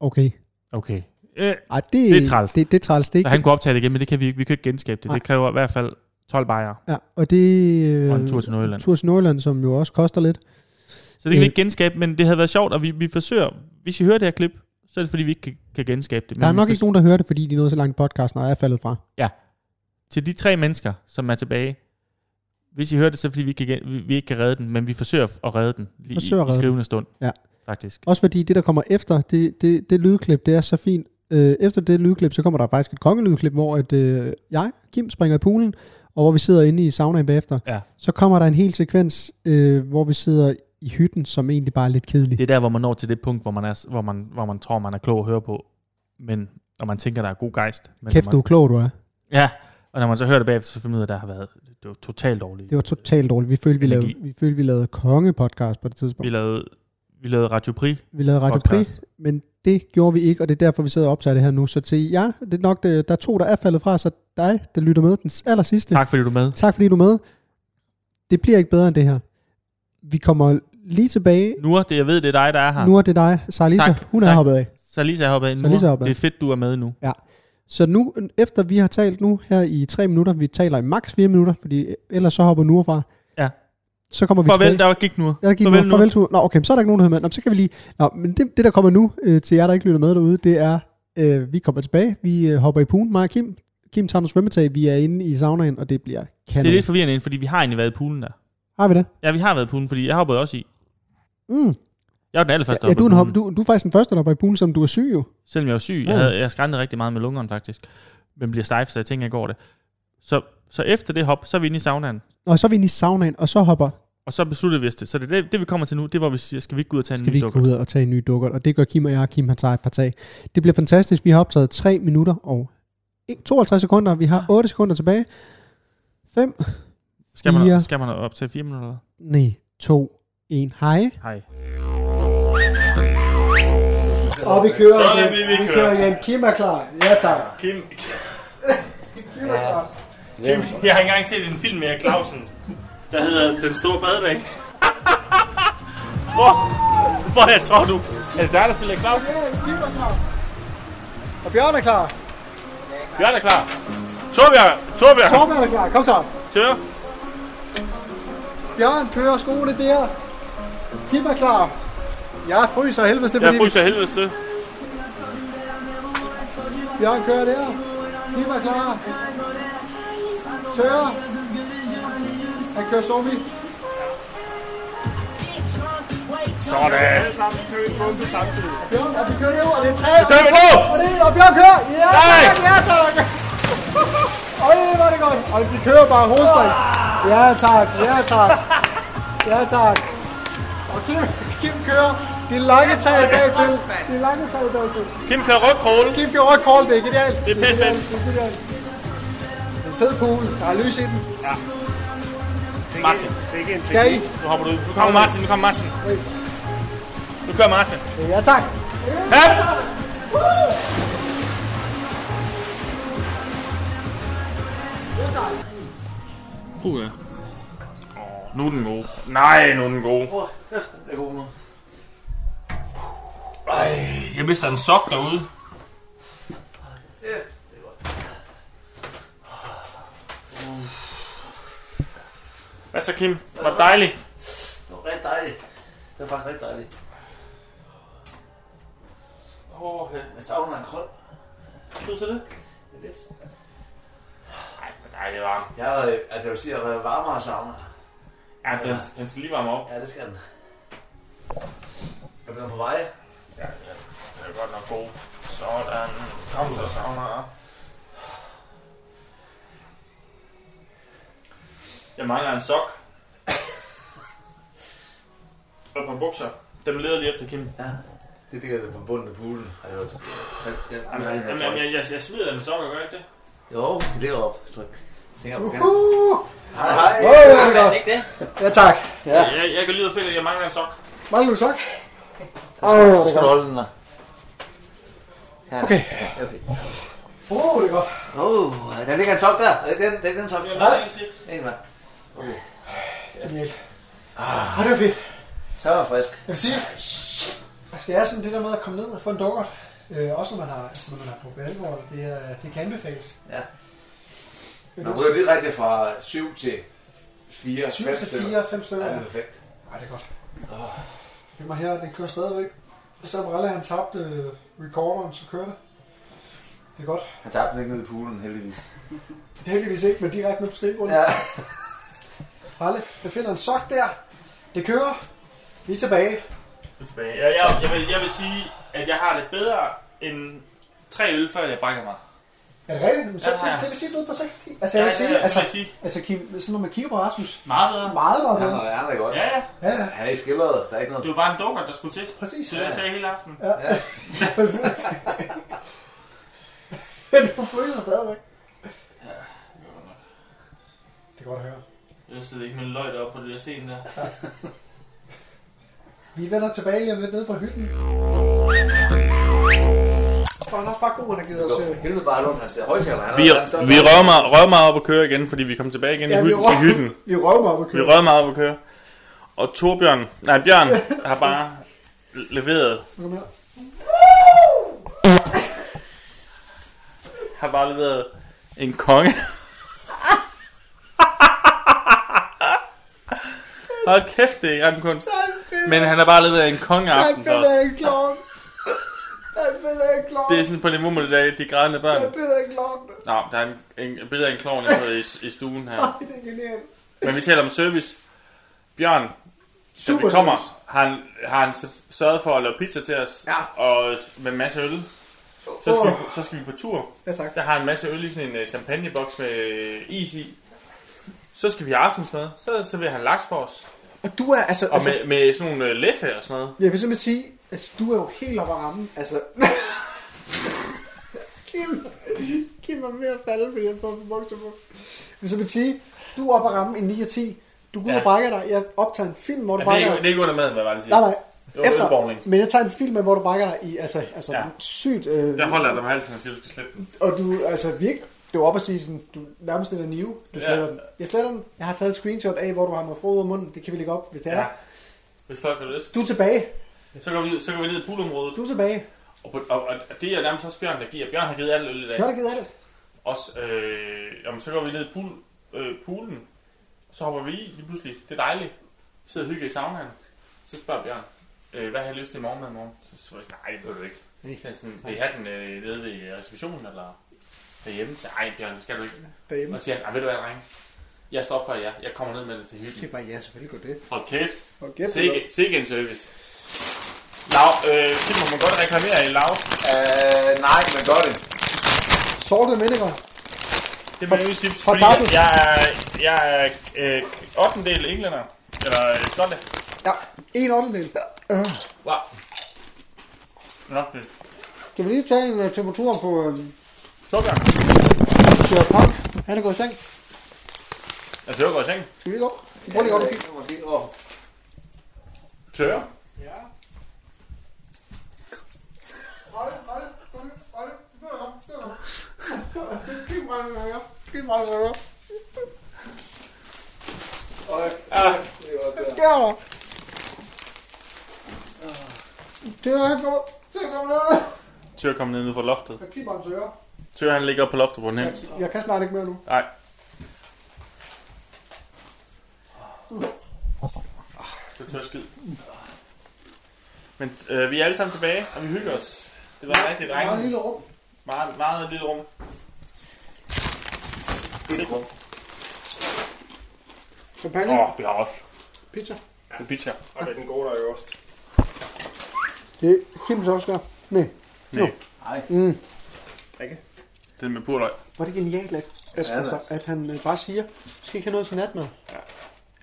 Speaker 4: Okay.
Speaker 3: Okay. Øh,
Speaker 4: Ej, det,
Speaker 3: Det er træls.
Speaker 4: Det, det er træls. Det
Speaker 3: så
Speaker 4: er ikke
Speaker 3: han kunne optage det igen, men det kan vi, ikke- vi kan ikke genskabe det.
Speaker 4: Nej.
Speaker 3: Det kræver i hvert fald 12 bajere
Speaker 4: Ja, og det... Øh,
Speaker 3: og en tur til Nordjylland.
Speaker 4: tur til Nordjylland, som jo også koster lidt.
Speaker 3: Så det kan vi
Speaker 4: Øh.
Speaker 3: ikke genskabe, men det havde været sjovt, og vi, vi forsøger. Hvis I hører det her klip, så er det fordi, vi ikke kan, kan genskabe det.
Speaker 4: Der er
Speaker 3: vi
Speaker 4: nok
Speaker 3: forsøger-
Speaker 4: ikke nogen, der hører det, fordi de nåede så langt i podcasten, og er faldet fra.
Speaker 3: til de tre mennesker, som er tilbage, hvis I hører det, så er det fordi vi ikke, kan, vi, vi ikke kan redde den, men vi forsøger at redde den lige forsøger
Speaker 4: Forsøger
Speaker 3: i, i
Speaker 4: at redde
Speaker 3: skrivende stund.
Speaker 4: Ja.
Speaker 3: Faktisk.
Speaker 4: Også fordi det, der kommer efter, det, det, det lydklip, det er så fint. Øh, efter det lydklip, så kommer der faktisk et kongelydklip, hvor at, øh, jeg, Kim, springer i poolen, og hvor vi sidder inde i saunaen bagefter.
Speaker 3: Ja.
Speaker 4: Så kommer der en hel sekvens, øh, hvor vi sidder
Speaker 10: i hytten, som egentlig bare er lidt kedelig.
Speaker 11: Det er der, hvor man når til det punkt, hvor man, er, hvor man, hvor man tror, man er klog at høre på, men, og man tænker, der er god gejst. Men
Speaker 10: Kæft,
Speaker 11: når
Speaker 10: du
Speaker 11: man,
Speaker 10: er klog, du er.
Speaker 11: Ja, og når man så hører det bagefter, så finder man ud af, at der har været det var totalt dårligt.
Speaker 10: Det var totalt dårligt. Vi følte, vi lavede,
Speaker 11: Energi.
Speaker 10: vi følte, vi lavede kongepodcast på det tidspunkt.
Speaker 11: Vi lavede, vi lavede Radio Prix.
Speaker 10: Vi lavede Radio Prix,
Speaker 11: Podcast.
Speaker 10: men det gjorde vi ikke, og det er derfor, vi sidder og optager det her nu. Så til jer, det er nok det, der er to, der er faldet fra, så dig, der lytter med den aller sidste.
Speaker 11: Tak fordi du er med.
Speaker 10: tak fordi du er med. Det bliver ikke bedre end det her. Vi kommer lige tilbage.
Speaker 11: Nure, det jeg ved, det er dig, der er her.
Speaker 10: Nu er det dig, Sara Lisa.
Speaker 11: Tak,
Speaker 10: Hun er
Speaker 11: tak.
Speaker 10: hoppet af.
Speaker 11: Så Lisa er hoppet af.
Speaker 10: Lisa er
Speaker 11: Nure,
Speaker 10: hoppet af.
Speaker 11: det er fedt, du er med nu.
Speaker 10: Så nu, efter vi har talt nu her i tre minutter, vi taler i maks fire minutter, fordi ellers så hopper Nure fra.
Speaker 11: Ja.
Speaker 10: Så kommer vi tilbage.
Speaker 11: Farvel, der gik Nure.
Speaker 10: Jeg gik farvel, nu. farvel tur. Nå, okay, men så er der ikke nogen, der hører med. Nå, men så kan vi lige... Nå, men det, det der kommer nu øh, til jer, der ikke lytter med derude, det er, øh, vi kommer tilbage. Vi øh, hopper i poolen, mig og Kim. Kim tager noget svømmetag. Vi er inde i saunaen, og det bliver kanon.
Speaker 11: Det er lidt forvirrende, fordi vi har egentlig været i poolen der.
Speaker 10: Har vi det?
Speaker 11: Ja, vi har været i poolen, fordi jeg hoppede også i.
Speaker 10: Mm.
Speaker 11: Jeg var den allerførste, der
Speaker 10: Ja, du, er en
Speaker 11: hoppede i
Speaker 10: hop,
Speaker 11: poolen.
Speaker 10: du, du er faktisk den første, der hopper i poolen, som du er syg jo.
Speaker 11: Selvom jeg var syg,
Speaker 10: Ja.
Speaker 11: jeg, havde, jeg skræntede rigtig meget med lungerne faktisk. Men bliver stejf, så jeg tænker, jeg går det. Så, så efter det hop, så er vi inde i saunaen.
Speaker 10: Og så er vi inde i saunaen, og så hopper,
Speaker 11: Og så besluttede vi os det. Så det, er det, det vi kommer til nu, det er, hvor vi siger, skal vi ikke gå ud og tage
Speaker 10: skal
Speaker 11: en
Speaker 10: vi
Speaker 11: ny
Speaker 10: ikke gå
Speaker 11: dukker?
Speaker 10: ud og tage en ny dukkert. Og det gør Kim og jeg, og Kim han tager et par tag. Det bliver fantastisk. Vi har optaget 3 minutter og 52 sekunder. Vi har 8 sekunder tilbage. 5,
Speaker 11: Skal man,
Speaker 10: Fire.
Speaker 11: skal man op til fire minutter? eller
Speaker 10: nej, 2, 1. Hej.
Speaker 11: hvad? Hej.
Speaker 10: Og vi kører.
Speaker 3: Så er
Speaker 10: igen.
Speaker 3: vi- vi kører.
Speaker 10: igen. Kim er klar. Ja, tak.
Speaker 3: Kim,
Speaker 10: Kim er klar.
Speaker 3: Kim, jeg har ikke engang set en film med Erik Clausen, der hedder Den Store Badedag. hvor, hvor jeg tror du? Er det dig, der spiller Erik Clausen?
Speaker 10: Kim er klar. Og Bjørn er klar.
Speaker 3: Bjørn er klar. Torbjørn, Torbjørn,
Speaker 10: Torbjørn er klar. Kom så.
Speaker 3: tør.
Speaker 10: Bjørn kører skole der. Kim er klar. Jeg fryser af helvede, det er
Speaker 3: Jeg
Speaker 10: fordi
Speaker 3: fryser helvedes til.
Speaker 10: Bjørn kører der. Kim er klar. Tørre. Han kører zombie.
Speaker 3: Sådan.
Speaker 10: Bjørn, og vi kører derud, og det er tre.
Speaker 3: Kører vi nu?
Speaker 10: Og det er en, og Bjørn kører. Ja,
Speaker 3: Nej.
Speaker 10: tak, ja, tak. Øj, hvor er det godt. Og de kører bare hovedspring. Ja, tak, ja, tak. Ja, tak. Og Kim, Kim kører. De lange tag bagtil. De lange tag bagtil.
Speaker 3: Kim kører rygkrogle.
Speaker 10: Kim gjorde rødt kort, det er genialt.
Speaker 3: Det er pisse
Speaker 10: genialt, Det er genialt. En fed pool, der er lys i den.
Speaker 3: Martin,
Speaker 10: Skal I?
Speaker 3: nu hopper du ud. Nu kommer Martin, nu kommer Martin. Nu kører Martin.
Speaker 10: Ja, tak.
Speaker 3: Hop! Uh, ja. Nu er den god. Nej, nu er den god. Ej, jeg mister en sok derude. Hvad så, Kim? Var det dejligt?
Speaker 12: Det var rigtig dejligt. Det var faktisk rigtig dejligt.
Speaker 3: Åh, oh,
Speaker 12: Jeg savner en kold.
Speaker 3: synes du det?
Speaker 12: Lidt.
Speaker 3: Ej, hvor dejligt varmt.
Speaker 12: Jeg har, øh, altså jeg vil sige, at jeg har været varmere og savner.
Speaker 3: Ja, den, den skal lige varme op.
Speaker 12: Ja, det skal den. Er den på vej?
Speaker 3: Den er godt nok god. Sådan. Kom så, sauna. Jeg mangler en sok. Og et par bukser. Dem leder lige efter Kim.
Speaker 12: Det ligger der på bunden af poolen, har jeg hørt. Jeg- jeg-
Speaker 3: Jamen, jeg,
Speaker 12: jeg-
Speaker 3: jamen, jeg, jeg, jeg, jeg smider den sokker, gør jeg ikke det?
Speaker 12: Jo, det ligger op. Tryk. Tænker på kanten. Hej, hej.
Speaker 10: Uhuh. Åh, ja, det er godt.
Speaker 2: Ikke det?
Speaker 10: Ja, tak.
Speaker 12: Ja.
Speaker 3: Jeg, jeg kan lige ud og finde, at jeg mangler en sok.
Speaker 10: Mangler du
Speaker 12: *laughs*
Speaker 10: sok? Åh,
Speaker 12: Så
Speaker 10: det
Speaker 12: skal- Så
Speaker 10: er
Speaker 12: skal du
Speaker 10: godt.
Speaker 12: holde den der. Her.
Speaker 10: Okay.
Speaker 12: Okay.
Speaker 10: Åh, det er godt.
Speaker 12: Åh, der ligger en top der. Er det den, det er ikke den top. Nej, en vej.
Speaker 10: Genialt. Ah, det var fedt.
Speaker 12: Så er jeg frisk.
Speaker 10: Jeg vil sige, altså, det er sådan det der med at komme ned og få en dukkert. Øh, også når man har, altså, når man har drukket alkohol, det, er, det kan anbefales.
Speaker 12: Ja.
Speaker 10: Det
Speaker 12: Man
Speaker 10: er
Speaker 12: ryger direkte fra 7 til 4.
Speaker 10: 7 til 4, 5 stykker.
Speaker 12: Ja,
Speaker 10: Ja.
Speaker 12: det er perfekt.
Speaker 10: Ej, det er godt. Find mig her, den kører stadigvæk. Samarella, han tabte øh, recorderen, så kører det. Det er godt.
Speaker 12: Han tabte den ikke ned i poolen, heldigvis.
Speaker 10: Det er heldigvis ikke, men direkte ned på stenbunden.
Speaker 12: Ja.
Speaker 10: Ralle, jeg finder en sok der. Det kører. Vi er tilbage.
Speaker 3: Nu tilbage. Jeg, jeg, jeg, vil, jeg vil sige, at jeg har det bedre end tre øl, før jeg brækker mig.
Speaker 10: Er det rigtigt? Så,
Speaker 13: Ja, ja.
Speaker 10: det, det vil sige, at du er ude på 6-10. Altså, jeg vil
Speaker 13: Ja,
Speaker 10: sige,
Speaker 13: ja, ja,
Speaker 10: altså,
Speaker 13: præcis.
Speaker 10: altså Kim, sådan når man kigger på Rasmus.
Speaker 13: Meget bedre.
Speaker 10: Meget, meget
Speaker 5: Han
Speaker 10: bedre.
Speaker 5: er, han er godt.
Speaker 13: Ja, ja.
Speaker 10: Ja, ja.
Speaker 5: Han er ikke skildret. Der er ikke noget.
Speaker 13: Det var bare en dukker, der skulle til.
Speaker 10: Præcis.
Speaker 13: Så det sagde jeg hele aftenen.
Speaker 10: Ja. ja. Præcis. Men du fryser stadigvæk. Det er godt at høre.
Speaker 13: Jeg sidder ikke med en løg op på det der scene der.
Speaker 10: Vi vender tilbage lige om lidt nede fra hytten. For han er også bare god, han har givet os... øh,
Speaker 5: Helvede bare rundt, han ser højtaler. Han er-
Speaker 3: Vi,
Speaker 5: han er
Speaker 3: vi røver, mig, røver mig op og kører igen, fordi vi kom tilbage igen ja, i, hytten, i hytten.
Speaker 10: *laughs* Vi røver mig op og kører.
Speaker 3: Vi røver mig op og kører. Og Torbjørn, nej Bjørn, har bare leveret,
Speaker 10: Kom her.
Speaker 3: har bare leveret en konge. Hold kæft, det er ikke ramkunst. Men han har bare leveret en kongeaften for os.
Speaker 10: ikke klokken. Han fælder ikke klokken.
Speaker 3: Det er sådan på niveau med det der, de grædende børn.
Speaker 10: fælder ikke klokken.
Speaker 3: Nå, der er en, en et billede af en klovn i, i stuen her.
Speaker 10: det er genialt.
Speaker 3: Men vi taler om service. Bjørn, så vi
Speaker 10: Super
Speaker 3: kommer,
Speaker 10: service.
Speaker 3: har han, har han s- sørget for at lave pizza til os, ja. og s- med en masse øl. Så skal, vi, så skal vi på tur.
Speaker 10: Ja, tak.
Speaker 3: Der har han en masse øl i sådan en øh, champagneboks med øh, is i. Så skal vi have aftensmad. Så serverer han laks for os.
Speaker 10: Og du er altså...
Speaker 3: Og med, med sådan nogle øh, læffe og sådan noget.
Speaker 10: Jeg vil simpelthen sige, at du er jo helt oppe at ramme. Altså... *laughs* Kim, Kim er ved at falde, fordi jeg får for bukser på. Jeg vil simpelthen sige, du er oppe at ramme en 9 og 10. Du går ud
Speaker 3: Ja.
Speaker 10: og brækker dig. Jeg optager en film, hvor du
Speaker 3: Ja, det, er
Speaker 10: brækker
Speaker 3: ikke,
Speaker 10: dig.
Speaker 3: det er ikke under maden, hvad var det siger.
Speaker 10: Nej, nej.
Speaker 3: Det var
Speaker 10: Efter,
Speaker 3: ølbowling.
Speaker 10: men jeg tager en film, hvor du brækker dig i, altså, altså ja. sygt... Øh,
Speaker 3: Der holder jeg dig med halsen og siger, du skal slippe den.
Speaker 10: Og du, altså virkelig, det var op at sige sådan, du nærmest den er nive, du
Speaker 3: Ja.
Speaker 10: sletter den. Jeg sletter den, jeg har taget et screenshot af, hvor du har med frod ud af munden, det kan vi lægge op, hvis det er.
Speaker 3: Ja. Hvis folk har lyst.
Speaker 10: Du er tilbage,
Speaker 3: Så går vi, ud- så går vi ned i poolområdet.
Speaker 10: du er tilbage.
Speaker 3: Og, på, og, og det er nærmest også Bjørn, der giver. Bjørn har givet alt øl i dag.
Speaker 10: Nu har der givet alt.
Speaker 3: Også, øh, jamen, så går vi ned i pool, øh, poolen, så hopper vi i lige pludselig. Det er dejligt. Vi sidder og hygger i saunaen. Så spørger Bjørn, øh, hvad har I lyst til i morgenmad i morgen? Så svarer jeg, sådan, nej, det ved du ikke.
Speaker 10: Nej.
Speaker 3: Så er jeg sådan, vil I have den øh, nede ved receptionen eller derhjemme? Så, Ej, Bjørn, det skal du ikke.
Speaker 10: Derhjemme.
Speaker 3: Og så siger han, "Ej, ved du hvad, drenge? Jeg står for jer. Jeg kommer ned med det til
Speaker 10: Jeg siger
Speaker 3: hyggen.
Speaker 10: bare, ja, selvfølgelig går det.
Speaker 3: Hold kæft.
Speaker 10: Hold kæft,
Speaker 3: Sikke- Sikke en service. Lav, øh, det må man godt reklamere i Lav.
Speaker 5: Øh, nej, men gør det.
Speaker 10: Sorte vinegar.
Speaker 3: Det med Ølsips,
Speaker 10: fra
Speaker 3: fordi
Speaker 10: Tartu.
Speaker 3: jeg, jeg er, jeg er øh, 8. del englænder. Eller øh, skotte.
Speaker 10: Ja, en ottendel. Øh,
Speaker 3: Wow. Nå, det er
Speaker 10: Skal vi lige tage en uh, temperatur på uh,
Speaker 3: Torbjørn.
Speaker 10: Sherlock Punk? Han er gået i seng.
Speaker 3: Jeg tør går i seng.
Speaker 10: Skal vi lige gå? Prøv lige godt at kigge.
Speaker 3: Tør.
Speaker 10: Hold, hold, hold, hold. Det var nok, det var nok. Giv mig en ører. Giv mig en ører. Det er der. Det er han kommer. Se, han kommer ned.
Speaker 3: Tør kommer ned nu fra loftet.
Speaker 10: Jeg klipper hans ører.
Speaker 3: Tør han ligger oppe på loftet på den her.
Speaker 10: Jeg kan snart ikke mere nu.
Speaker 3: Nej. Det tør skid. Men øh, vi er alle sammen tilbage, og vi hygger os. Det var rigtig
Speaker 10: Der er et
Speaker 3: drenge.
Speaker 10: lille rum.
Speaker 3: Meget, meget lille rum. Sikke.
Speaker 10: Champagne.
Speaker 3: Åh, vi har også.
Speaker 10: Pizza.
Speaker 3: Det er pizza.
Speaker 14: Og det er den gode, der er øverst.
Speaker 10: Det er Kims også gør. Nej.
Speaker 3: Nej.
Speaker 5: Nej.
Speaker 10: Mm.
Speaker 3: Den med purløg.
Speaker 10: Hvor er det genialt, at, at,
Speaker 5: Ja,
Speaker 10: altså,
Speaker 5: da.
Speaker 10: at han øh, bare siger, du skal ikke have noget til natmad.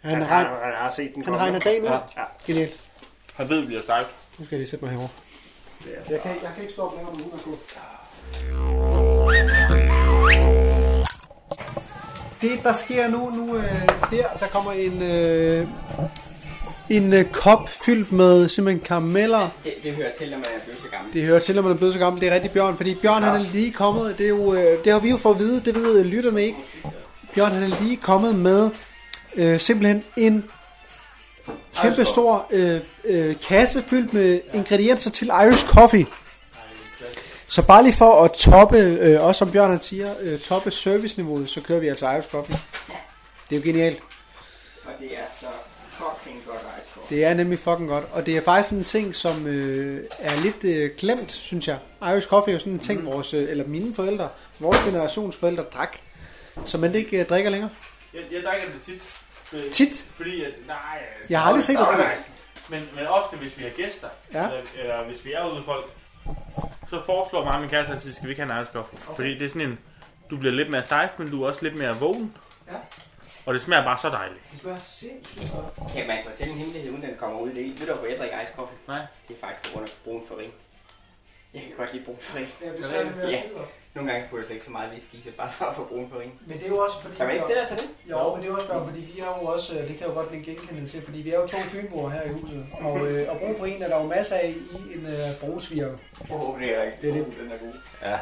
Speaker 10: Han,
Speaker 14: Han,
Speaker 10: regner,
Speaker 14: han, han har set den
Speaker 10: han
Speaker 14: komme.
Speaker 10: regner dagen ud.
Speaker 14: Ja.
Speaker 10: Genialt.
Speaker 3: Han ved, vi bliver stejlt.
Speaker 10: Nu skal jeg lige sætte mig herovre.
Speaker 14: Det er
Speaker 10: Jeg kan, jeg kan ikke stoppe længere med uden at gå. Det, der sker nu, nu øh, der, der kommer en, øh, en øh, kop fyldt med simpelthen karameller.
Speaker 2: Det, det hører til, når man er blevet så gammel.
Speaker 10: Det hører til, at man er blevet så gammel. Det er rigtig Bjørn, fordi Bjørn han er lige kommet. Det, er jo, øh, det har vi jo fået at vide, det ved øh, lytterne ikke. Bjørn han er lige kommet med øh, simpelthen en kæmpe stor øh, øh, kasse fyldt med ingredienser til Irish Coffee. Så bare lige for at toppe, øh, også som Bjørn han siger, øh, toppe serviceniveauet, så kører vi altså Irish Coffee. Det er jo genialt.
Speaker 2: Og det er så fucking godt rejsekort.
Speaker 10: Det er nemlig fucking godt. Og det er faktisk en ting, som øh, er lidt øh, glemt, synes jeg. Irish coffee er jo sådan en
Speaker 4: Mm.
Speaker 10: ting, vores, øh, eller mine forældre, vores generations forældre drak. Så man ikke øh, drikker længere.
Speaker 3: Jeg, jeg drikker det tit. Øh,
Speaker 10: Tit?
Speaker 3: Fordi, at, nej, altså,
Speaker 10: Jeg har aldrig set dig
Speaker 3: nej,
Speaker 10: drikke.
Speaker 3: nej. Men, men ofte, hvis vi har gæster,
Speaker 10: Ja.
Speaker 3: eller, eller hvis vi er ude med folk, så foreslår mig og min kæreste altid, skal vi ikke have en irish coffee? Okay. Fordi det er sådan en,
Speaker 10: Du bliver lidt mere stejf, men du er også lidt mere vågen.
Speaker 4: Ja.
Speaker 10: Og det smager bare så dejligt.
Speaker 4: Det smager sindssygt godt.
Speaker 2: Kan man fortælle en hemmelighed, uden den kommer ud i det? Ved du, hvorfor jeg drikker ice coffee?
Speaker 10: Nej.
Speaker 2: Det er faktisk på grund af brun farin. Jeg kan godt lide brun farin.
Speaker 4: Ja, det smager lidt mere
Speaker 2: Ja.
Speaker 4: sirup.
Speaker 2: Nogle gange burde jeg ikke så meget lige skise, bare for at få brun farin.
Speaker 4: Men det er jo også fordi...
Speaker 2: Kan man ikke
Speaker 4: vi-
Speaker 2: tillade sig det?
Speaker 4: Jo, men det er jo også bare, fordi vi har jo også, øh, det kan jeg jo godt blive genkendt til, fordi vi er jo to fynboer her i huset, og, øh, og brug for en er der jo masser af i en øh, brugsvirke.
Speaker 5: Åh, det er rigtigt.
Speaker 4: Det er det.
Speaker 5: Den er god. Ja.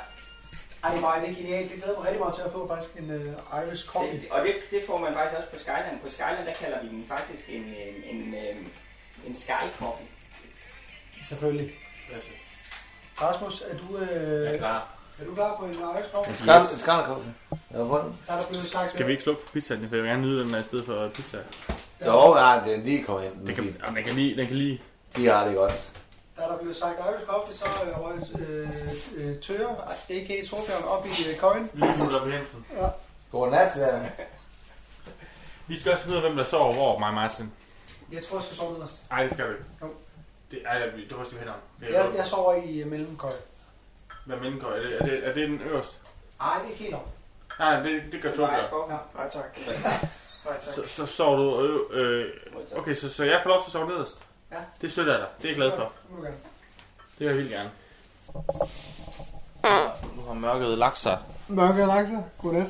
Speaker 4: Ej, det er meget, det er genialt. Det glæder mig rigtig meget til at få faktisk en øh, Irish coffee.
Speaker 2: Og det, det får man faktisk også på Skyland. På Skyland, der kalder vi den faktisk en, en, en, øhm, en sky coffee.
Speaker 4: Selvfølgelig. Rasmus, er du, øh,
Speaker 2: Jeg er
Speaker 10: klar.
Speaker 4: er du klar på en Irish coffee?
Speaker 5: En skræl, en skrællekoffe. Jeg har fundet.
Speaker 4: Så er der blevet sagt,
Speaker 10: Skal vi ikke slukke for pizzaen? For jeg vil gerne nyde den her i stedet for pizza.
Speaker 5: Jo, ja, den er lige kommet ind.
Speaker 10: Det kan, jamen, den kan lige, den kan lige.
Speaker 5: De har det godt.
Speaker 4: Da øh, der blev sagt Irish Coffee, så øh, røg øh, øh, Tøre, a.k.a. Solbjørn, op i øh, køjen.
Speaker 10: Lige mutter på Jensen.
Speaker 4: Ja.
Speaker 5: Godnat, sagde han.
Speaker 10: Vi skal også finde ud af, hvem der sover hvor, mig og Martin.
Speaker 4: Jeg tror, jeg skal sove nederst.
Speaker 10: Ej, det skal vi.
Speaker 4: Jo.
Speaker 10: Det er det, det ryster vi hænder om. Det er-
Speaker 4: Jeg, jeg sover i øh, mellemkøj.
Speaker 10: Hvad mellemgår? Er det, er, det, er det den øverste?
Speaker 4: Ej, ikke helt op.
Speaker 10: Nej, det, det gør
Speaker 4: Det
Speaker 10: to
Speaker 4: var Irish
Speaker 10: gør.
Speaker 4: coffee. Ja, nej tak. Nej tak.
Speaker 10: Så, så sover du... Øh, øh, okay, så, så jeg får lov til at sove nederst?
Speaker 4: Ja.
Speaker 10: Det er sødt af dig. Det er jeg glad for.
Speaker 4: Nu vil jeg gerne.
Speaker 10: Det vil jeg vildt gerne. Nu har mørket lagt sig
Speaker 4: Mørke Alaksa, godnat.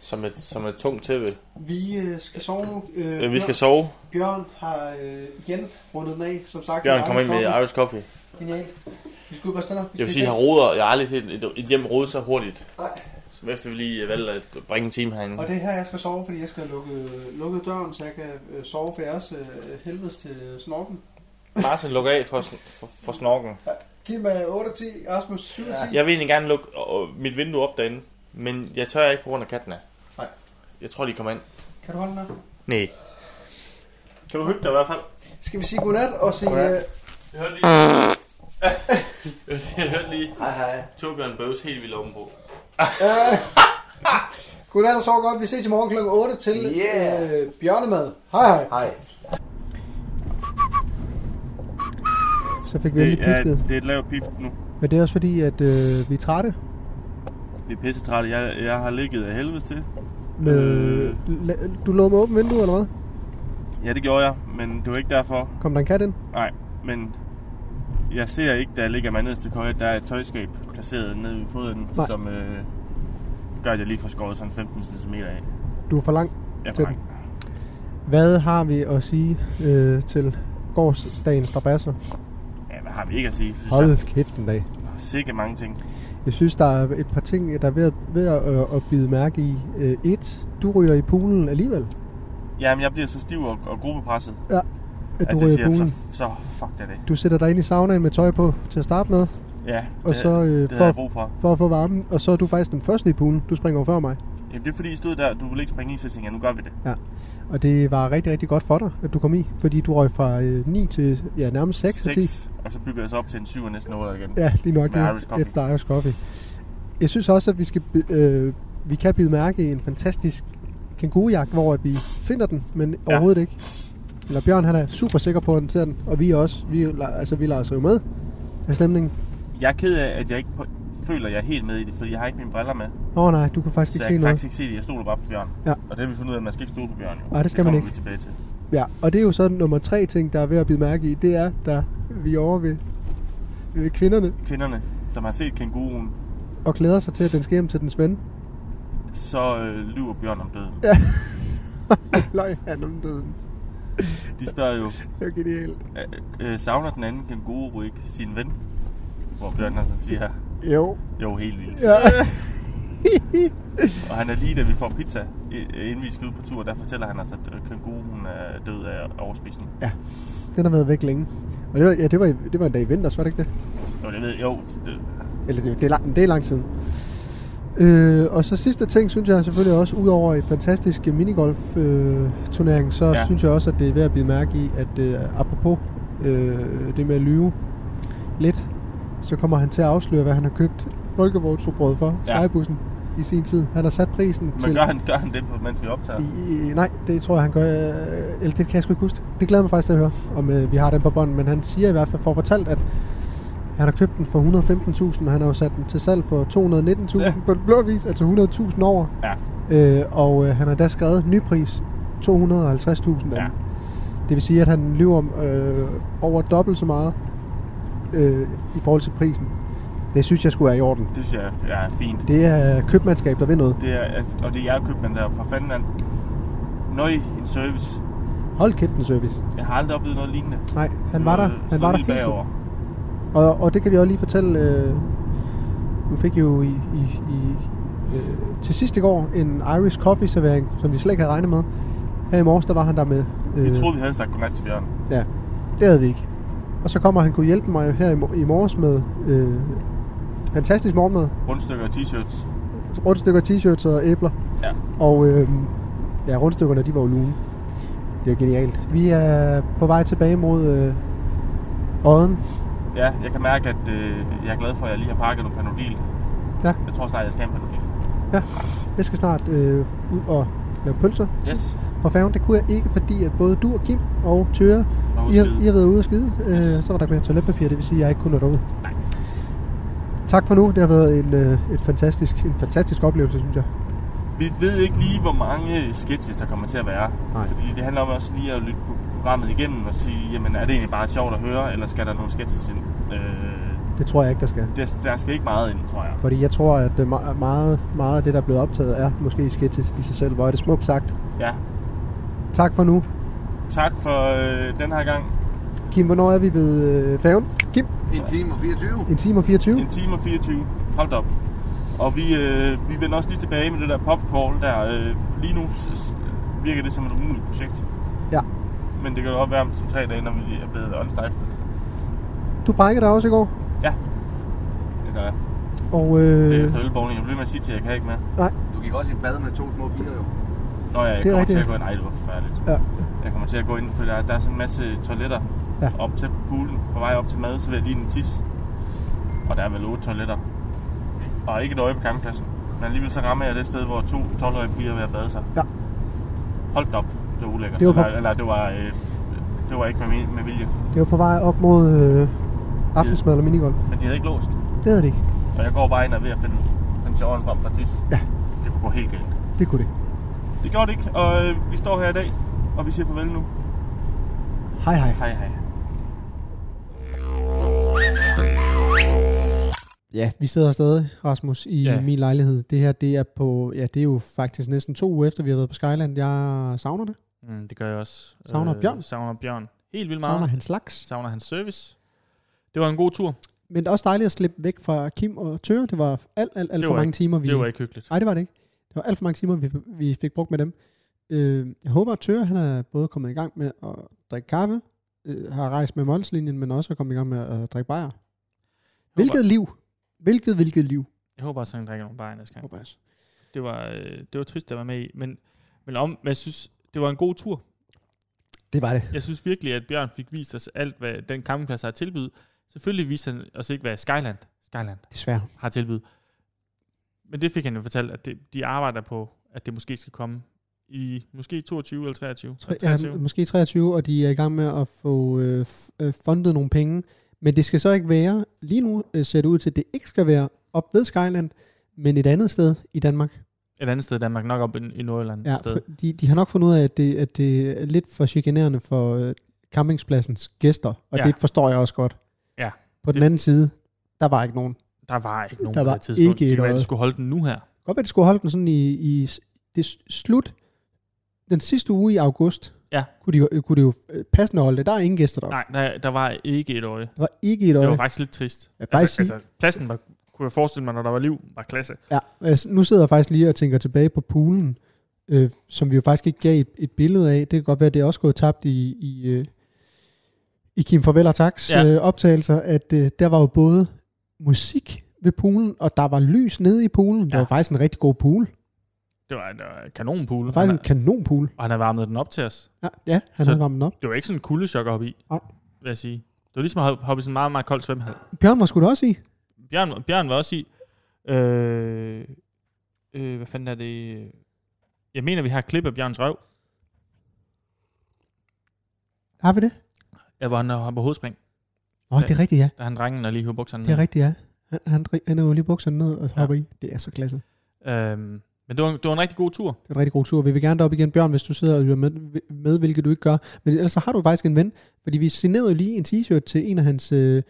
Speaker 3: Som et, som et tungt tæppe.
Speaker 4: Vi øh, skal sove nu.
Speaker 3: Øh, vi skal sove.
Speaker 4: Bjørn har øh, igen rundet den af, som sagt.
Speaker 3: Bjørn
Speaker 4: med
Speaker 3: kom ind med
Speaker 4: Coffee.
Speaker 3: Irish Coffee.
Speaker 4: Genialt. Vi skal ud på stedet.
Speaker 3: Jeg vil sige, han roder. Jeg har aldrig set et, et hjem rode så hurtigt.
Speaker 4: Nej.
Speaker 3: Som efter vi lige øh, valgte at bringe en time herinde.
Speaker 4: Og det er her, jeg skal sove, fordi jeg skal lukke, lukke døren, så jeg kan øh, sove for jeres øh, helvedes til snorken.
Speaker 3: Martin lukker af for, sn- for, for snorken.
Speaker 4: Giv mig 8 og 10, Rasmus 7 og 10.
Speaker 3: Jeg vil egentlig gerne lukke øh, mit vindue op derinde, men jeg tør ikke på grund af kattene.
Speaker 4: Nej.
Speaker 3: Jeg tror, de kommer ind.
Speaker 4: Kan du holde den her?
Speaker 3: Nej. Kan du hygge dig i hvert fald?
Speaker 4: Skal vi sige godnat og sige...
Speaker 3: Godnat. Jeg
Speaker 4: Øh,
Speaker 3: hørte lige... jeg hørte lige... Hej, hej. Torbjørn Bøves helt vildt ovenpå.
Speaker 4: øh, godnat og sov godt. Vi ses i morgen kl. 8 til
Speaker 5: Yeah.
Speaker 4: øh, bjørnemad. Hej hej.
Speaker 5: Hej.
Speaker 4: Så fik vi endelig piftet.
Speaker 3: det er et lavt pift nu.
Speaker 4: Men det er også fordi, at øh, vi er trætte.
Speaker 3: Det er pisse træt. Jeg, jeg har ligget af helvede til.
Speaker 4: Med, øh. Du lå med åbent vindue, eller hvad?
Speaker 3: Ja, det gjorde jeg, men det var ikke derfor.
Speaker 4: Kom der en kat ind?
Speaker 3: Nej, men jeg ser ikke, da jeg ligger mig nederst i køjet, der er et tøjskab placeret nede i foden,
Speaker 4: Nej.
Speaker 3: som øh, gør, at jeg lige får skåret sådan 15 cm af.
Speaker 4: Du er for lang
Speaker 3: Jeg er
Speaker 4: til
Speaker 3: for
Speaker 4: den. Hvad har vi at sige øh, til gårdsdagens strabasser?
Speaker 3: Ja, hvad har vi ikke at sige? Synes
Speaker 4: Hold
Speaker 3: jeg.
Speaker 4: kæft en dag.
Speaker 3: Sikke mange ting.
Speaker 4: Jeg synes, der er et par ting, der er ved at, ved at, øh, at bide mærke i. Øh, et, du ryger i poolen alligevel.
Speaker 3: Jamen, jeg bliver så stiv og, og gruppepresset.
Speaker 4: Ja, at
Speaker 3: jeg
Speaker 4: du ryger i
Speaker 3: siger, så,
Speaker 4: poolen.
Speaker 3: så fuck det det.
Speaker 4: Du sætter dig ind i saunaen med tøj på til at starte med.
Speaker 3: Ja,
Speaker 4: og
Speaker 3: det-
Speaker 4: så, øh,
Speaker 3: det havde
Speaker 4: for,
Speaker 3: jeg brug for.
Speaker 4: for at få varmen. Og så er du faktisk den første i poolen. Du springer over før mig.
Speaker 3: Jamen, det er fordi, I stod der, og du ville ikke springe i, så tænkte jeg, nu gør vi det.
Speaker 4: Ja. Og det var rigtig, rigtig godt for dig, at du kom i. Fordi du røg fra øh, 9 til ja, nærmest 6, 6 til 10.
Speaker 3: Seks, og så bygger jeg så op til en 7 og næsten 8 igen.
Speaker 4: Ja, lige nok
Speaker 3: Med
Speaker 4: det.
Speaker 3: Irish coffee.
Speaker 4: Efter Irish Coffee. Jeg synes også, at vi, skal, bi- øh, vi kan bide mærke i en fantastisk kængurujagt, hvor vi finder den, men ja. overhovedet ikke. Eller Bjørn, han er super sikker på, at den ser den, og vi er også. Vi, la- altså, vi lader os rive med af stemningen.
Speaker 3: Jeg er ked af, at jeg ikke på, føler, at jeg er helt med i det, fordi jeg har ikke mine briller med.
Speaker 4: Åh, nej, du kan faktisk
Speaker 3: så
Speaker 4: ikke
Speaker 3: jeg
Speaker 4: se
Speaker 3: kan
Speaker 4: noget.
Speaker 3: faktisk ikke se det. Jeg stoler bare på Bjørn.
Speaker 4: Ja.
Speaker 3: Og det har vi fundet ud af, at man skal ikke stole på Bjørn. Jo.
Speaker 4: Nej, det skal
Speaker 3: det
Speaker 4: man
Speaker 3: kommer
Speaker 4: ikke.
Speaker 3: Vi tilbage til.
Speaker 4: Ja, og det er jo så nummer tre ting, der er ved at blive mærke i, det er, der vi er over ved, ved kvinderne,
Speaker 3: Kvinderne, som har set kænguruen,
Speaker 4: og glæder sig til, at den skal hjem til dens *laughs* ven.
Speaker 3: så øh, lyver Bjørn om døden.
Speaker 4: Ja. Løg han om døden.
Speaker 3: De spørger jo,
Speaker 4: Det er genialt.
Speaker 3: øh, øh, savner den anden kænguru ikke sin ven? Hvor Bjørn han så siger,
Speaker 4: Jo.
Speaker 3: jo helt vildt.
Speaker 4: Ja. *laughs*
Speaker 3: Og han er lige, da vi får pizza, i- øh, inden vi skal ud på tur, der fortæller han os, at øh, kænguruen er død af overspisning.
Speaker 4: Ja. Den har været væk længe. Og det var, ja, det var, det var en dag i vinters, var det ikke det?
Speaker 3: Jo, det ved jeg. Jo, det,
Speaker 4: Eller det, det, er, lang, det er lang tid. Øh, og så sidste ting, synes jeg selvfølgelig også, udover et fantastisk minigolf-turnering, så
Speaker 3: Ja.
Speaker 4: ja. synes jeg også, at det er værd at blive mærke i, at øh, apropos øh, det med at lyve lidt, så kommer han til at afsløre, hvad han har købt Folkevognsbrød for,
Speaker 3: Ja.
Speaker 4: Skybussen, i sin tid. Han har sat prisen
Speaker 3: men
Speaker 4: til...
Speaker 3: gør han, gør han det, mens vi optager?
Speaker 4: I, nej, det tror jeg, han gør... Øh, eller det kan jeg sgu ikke huske. Det glæder jeg mig faktisk til at høre, om øh, vi har den på bånd. Men han siger i hvert fald, for fortalt, at
Speaker 10: Han har købt den for 115.000, og han har jo sat den til salg for 219.000 ja. på den blå vis, altså 100.000 over. Ja. Øh, og øh, han har da skrevet ny pris 250.000 af ja. Det vil sige, at han lyver om, øh, over dobbelt så meget øh, i forhold til prisen. Det synes jeg skulle være i orden.
Speaker 3: Det synes jeg er fint.
Speaker 10: Det er købmandskab, der ved noget.
Speaker 3: Det er, og det er jeg købmand der fra Finland. Nøj, en service.
Speaker 10: Hold kæft en service.
Speaker 3: Jeg har aldrig oplevet noget lignende.
Speaker 10: Nej, han var der.
Speaker 3: Noget-
Speaker 10: Han
Speaker 3: sådan
Speaker 10: var der
Speaker 3: lidt
Speaker 10: hele tiden.
Speaker 3: bagover.
Speaker 10: Og, og det kan vi også lige fortælle. Øh, vi fik jo i, i, i, øh, til sidste går en Irish coffee servering, som vi slet ikke havde regnet med. Her i morges, der var han der med.
Speaker 3: Vi troede, vi havde sagt godnat til Bjørn.
Speaker 10: Ja, det havde vi ikke. Og så kommer han kunne hjælpe mig her i, mor- i morges med øh, fantastisk morgenmad.
Speaker 3: Rundstykker og t-shirts.
Speaker 10: Rundstykker, t-shirts og æbler.
Speaker 3: Ja.
Speaker 10: Og øh, ja, rundstykkerne, de var jo lune. Det er genialt. Vi er på vej tilbage mod øh, Odden.
Speaker 3: Ja, jeg kan mærke, at øh, jeg er glad for, at jeg lige har pakket nogle panodil.
Speaker 10: Ja.
Speaker 3: Jeg tror snart, jeg skal have en panodil.
Speaker 10: Ja, jeg skal snart øh, ud og lave pølser
Speaker 3: Yes.
Speaker 10: på færgen. Det kunne jeg ikke, fordi at både du og Kim og Tøre,
Speaker 3: Var ude
Speaker 10: I har,
Speaker 3: at skide.
Speaker 10: I har været ude og skide. Yes. Øh, så var der ikke mere toiletpapir, det vil sige, at jeg ikke kunne nå derud. Nej. Tak for nu. Det har været en, øh, et fantastisk, en fantastisk oplevelse, synes jeg.
Speaker 3: Vi ved ikke lige, hvor mange sketches, der kommer til at være. Nej. Fordi det handler om også lige at lytte på programmet igennem og sige, jamen er det egentlig bare sjovt at høre, eller skal der nogle sketches ind? Øh,
Speaker 10: Det tror jeg ikke, der skal.
Speaker 3: der, der skal ikke meget ind, tror jeg.
Speaker 10: Fordi jeg tror, at øh, me- meget, meget af det, der er blevet optaget, er måske sketches i sig selv. Hvor er det smukt sagt.
Speaker 3: Ja.
Speaker 10: Tak for nu.
Speaker 3: Tak for øh, den her gang.
Speaker 10: Kim, hvornår er vi ved øh, færgen? Kim,
Speaker 3: En time og 24.
Speaker 10: en time og 24.
Speaker 3: En time og 24. Hold da op. Og vi, øh, vi vender også lige tilbage med det der popcorn der. Øh, lige nu s- s- virker det som et umuligt projekt.
Speaker 10: Ja.
Speaker 3: Men det kan jo godt være om to-tre dage, når vi er blevet åndstejftet.
Speaker 10: Du brækkede dig også i går.
Speaker 3: Ja. Det gør jeg.
Speaker 10: Og
Speaker 3: Det er
Speaker 10: øh,
Speaker 3: efter ølbowling. Jeg bliver med at sige til, at jeg kan ikke mere.
Speaker 10: Nej.
Speaker 5: Du gik også i bad med to små piger, jo.
Speaker 3: Nå ja, jeg
Speaker 10: Det er
Speaker 3: kommer
Speaker 10: rigtigt,
Speaker 3: til at
Speaker 10: ja.
Speaker 3: gå ind. Ej, det var forfærdeligt.
Speaker 10: Ja.
Speaker 3: Jeg kommer til at gå ind, for der, der er sådan en masse toiletter
Speaker 10: Ja.
Speaker 3: op til poolen. På vej op til mad, så vil jeg lige en tis. Og der er vel otte toiletter. Og ikke et øje på campingpladsen. Men alligevel så rammer jeg det sted, hvor to 12-årige piger er ved at bade sig.
Speaker 10: Ja.
Speaker 3: Hold da op, det var ulækkert.
Speaker 10: Det var på-
Speaker 3: eller, eller, det var, øh, det var ikke med, mi- med vilje.
Speaker 10: det var på vej op mod øh, aftensmad eller minigolf.
Speaker 3: Men de havde ikke låst.
Speaker 10: Det havde det ikke.
Speaker 3: Og jeg går bare ind og er ved at finde den sjovere frem fra tis.
Speaker 10: Ja.
Speaker 3: Det kunne gå helt galt.
Speaker 10: Det kunne det.
Speaker 3: Det gjorde det ikke, og øh, vi står her i dag, og vi siger farvel nu.
Speaker 10: Hej hej.
Speaker 3: Hej hej.
Speaker 10: Ja, vi sidder stadig, Rasmus, i
Speaker 15: Ja.
Speaker 10: ja. min lejlighed. Det her, det er på, ja, det er jo faktisk næsten to uger efter, vi har været på Skyland. Jeg savner det.
Speaker 11: Mm, det gør jeg også.
Speaker 10: Savner Bjørn?
Speaker 11: Savner Bjørn. Helt vildt meget.
Speaker 10: Savner hans slags.
Speaker 11: Savner hans service. Det var en god tur.
Speaker 10: Men det er også dejligt at slippe væk fra Kim og Tøre. Det var alt, alt, alt
Speaker 11: Det
Speaker 10: for
Speaker 11: var
Speaker 10: mange
Speaker 11: ikke-
Speaker 10: timer, vi...
Speaker 11: det var ikke hyggeligt.
Speaker 10: Nej, det var det ikke. Det var alt for mange timer, vi, vi fik brugt med dem. Øh, jeg håber, at Tøre, han er både kommet i gang med at drikke kaffe, øh, har rejst med Molslinjen, men også er kommet i gang med at drikke bajer. Hvilket liv! Hvilket, hvilket liv!
Speaker 11: Jeg håber også, at han drikker nogle bajer næste gang.
Speaker 10: Håber
Speaker 11: Det var, øh, det var trist at være med i, men, men om, men jeg synes, det var en god tur.
Speaker 10: Det var det.
Speaker 11: Jeg synes virkelig, at Bjørn fik vist os alt, hvad den campingplads har tilbydet. Selvfølgelig viste han os ikke, hvad Skyland, Skyland
Speaker 10: Desværre.
Speaker 11: har tilbydet. Men det fik han jo fortalt, at det, de arbejder på, at det måske skal komme i måske 22 eller 23.
Speaker 10: Tre- Ja, måske 23, og de er i gang med at få øh, f- øh, fundet nogle penge. Men det skal så ikke være, lige nu øh, ser det ud til, at det ikke skal være op ved Skyland, men et andet sted i Danmark.
Speaker 11: Et andet sted i Danmark, nok op i, i Nordjylland
Speaker 10: Ja,
Speaker 11: et sted.
Speaker 10: for de, de har nok fundet ud af, at det, at det er lidt for chikanerende for øh, campingspladsens gæster, og
Speaker 11: Ja.
Speaker 10: ja. det forstår jeg også godt.
Speaker 11: Ja,
Speaker 10: På den anden side, der var ikke nogen. Det
Speaker 11: Der var ikke nogen
Speaker 10: Der
Speaker 11: på
Speaker 10: var
Speaker 11: det tidspunkt.
Speaker 10: ikke
Speaker 11: det kan være, at de
Speaker 10: noget.
Speaker 11: skulle holde den nu her.
Speaker 10: kan godt være, at de skulle holde den sådan i, i s- det s- slut, den sidste uge i august,
Speaker 11: Ja.
Speaker 10: kunne, de, jo- øh, kunne det jo øh, passende holde det. Der er ingen gæster der.
Speaker 11: Nej, nej, der var ikke et øje.
Speaker 10: Der var ikke et øje.
Speaker 11: Det var faktisk lidt trist.
Speaker 10: Jeg vil faktisk
Speaker 11: altså, altså, pladsen var, kunne jeg forestille mig, når der var liv, var klasse.
Speaker 10: Ja, og jeg, nu sidder jeg faktisk lige og tænker tilbage på poolen, øh, som vi jo faktisk ikke gav et, et billede af. Det kan godt være, at det er også gået tabt i, i, øh, i Kim Farvel og Tax
Speaker 11: Ja.
Speaker 10: ja. øh, optagelser, at øh, der var jo både musik ved poolen, og der var lys nede i poolen. Ja. Det var faktisk en rigtig god pool. Det
Speaker 11: Det var, det var en kanonpool.
Speaker 10: var faktisk
Speaker 11: han,
Speaker 10: en kanonpool.
Speaker 11: og han havde varmet den op til os.
Speaker 10: Ja, ja han
Speaker 11: Så-
Speaker 10: så... havde varmet den op.
Speaker 11: Det var ikke sådan en kuldeschok at hoppe i,
Speaker 10: Nej.
Speaker 11: vil jeg sige. Det var ligesom at hoppe- hoppe i sådan en meget, meget kold svømmehal.
Speaker 10: Bjørn var sgu da også i.
Speaker 11: Bjørn, Bjørn var også i... Øh, øh, hvad fanden er det? Jeg mener, vi har et klip af Bjørns røv,
Speaker 10: Har vi det?
Speaker 11: ja, hvor han hopper hovedspring.
Speaker 10: Åh, det er rigtigt, ja.
Speaker 11: Der er han drengen, der lige hiver bukserne
Speaker 10: Det er
Speaker 11: ned.
Speaker 10: rigtigt, ja. Han, han, dri- han er jo lige bukserne ned og hopper ja. i. Det er så klasse.
Speaker 11: Øhm, men det var, en- det var en rigtig god tur.
Speaker 10: Det er en rigtig god tur. Vi vil gerne derop igen, Bjørn, hvis du sidder og lytter med, med, hvilket du ikke gør. Men ellers så har du faktisk en ven, fordi vi signerede jo lige en t-shirt til en af hans øh,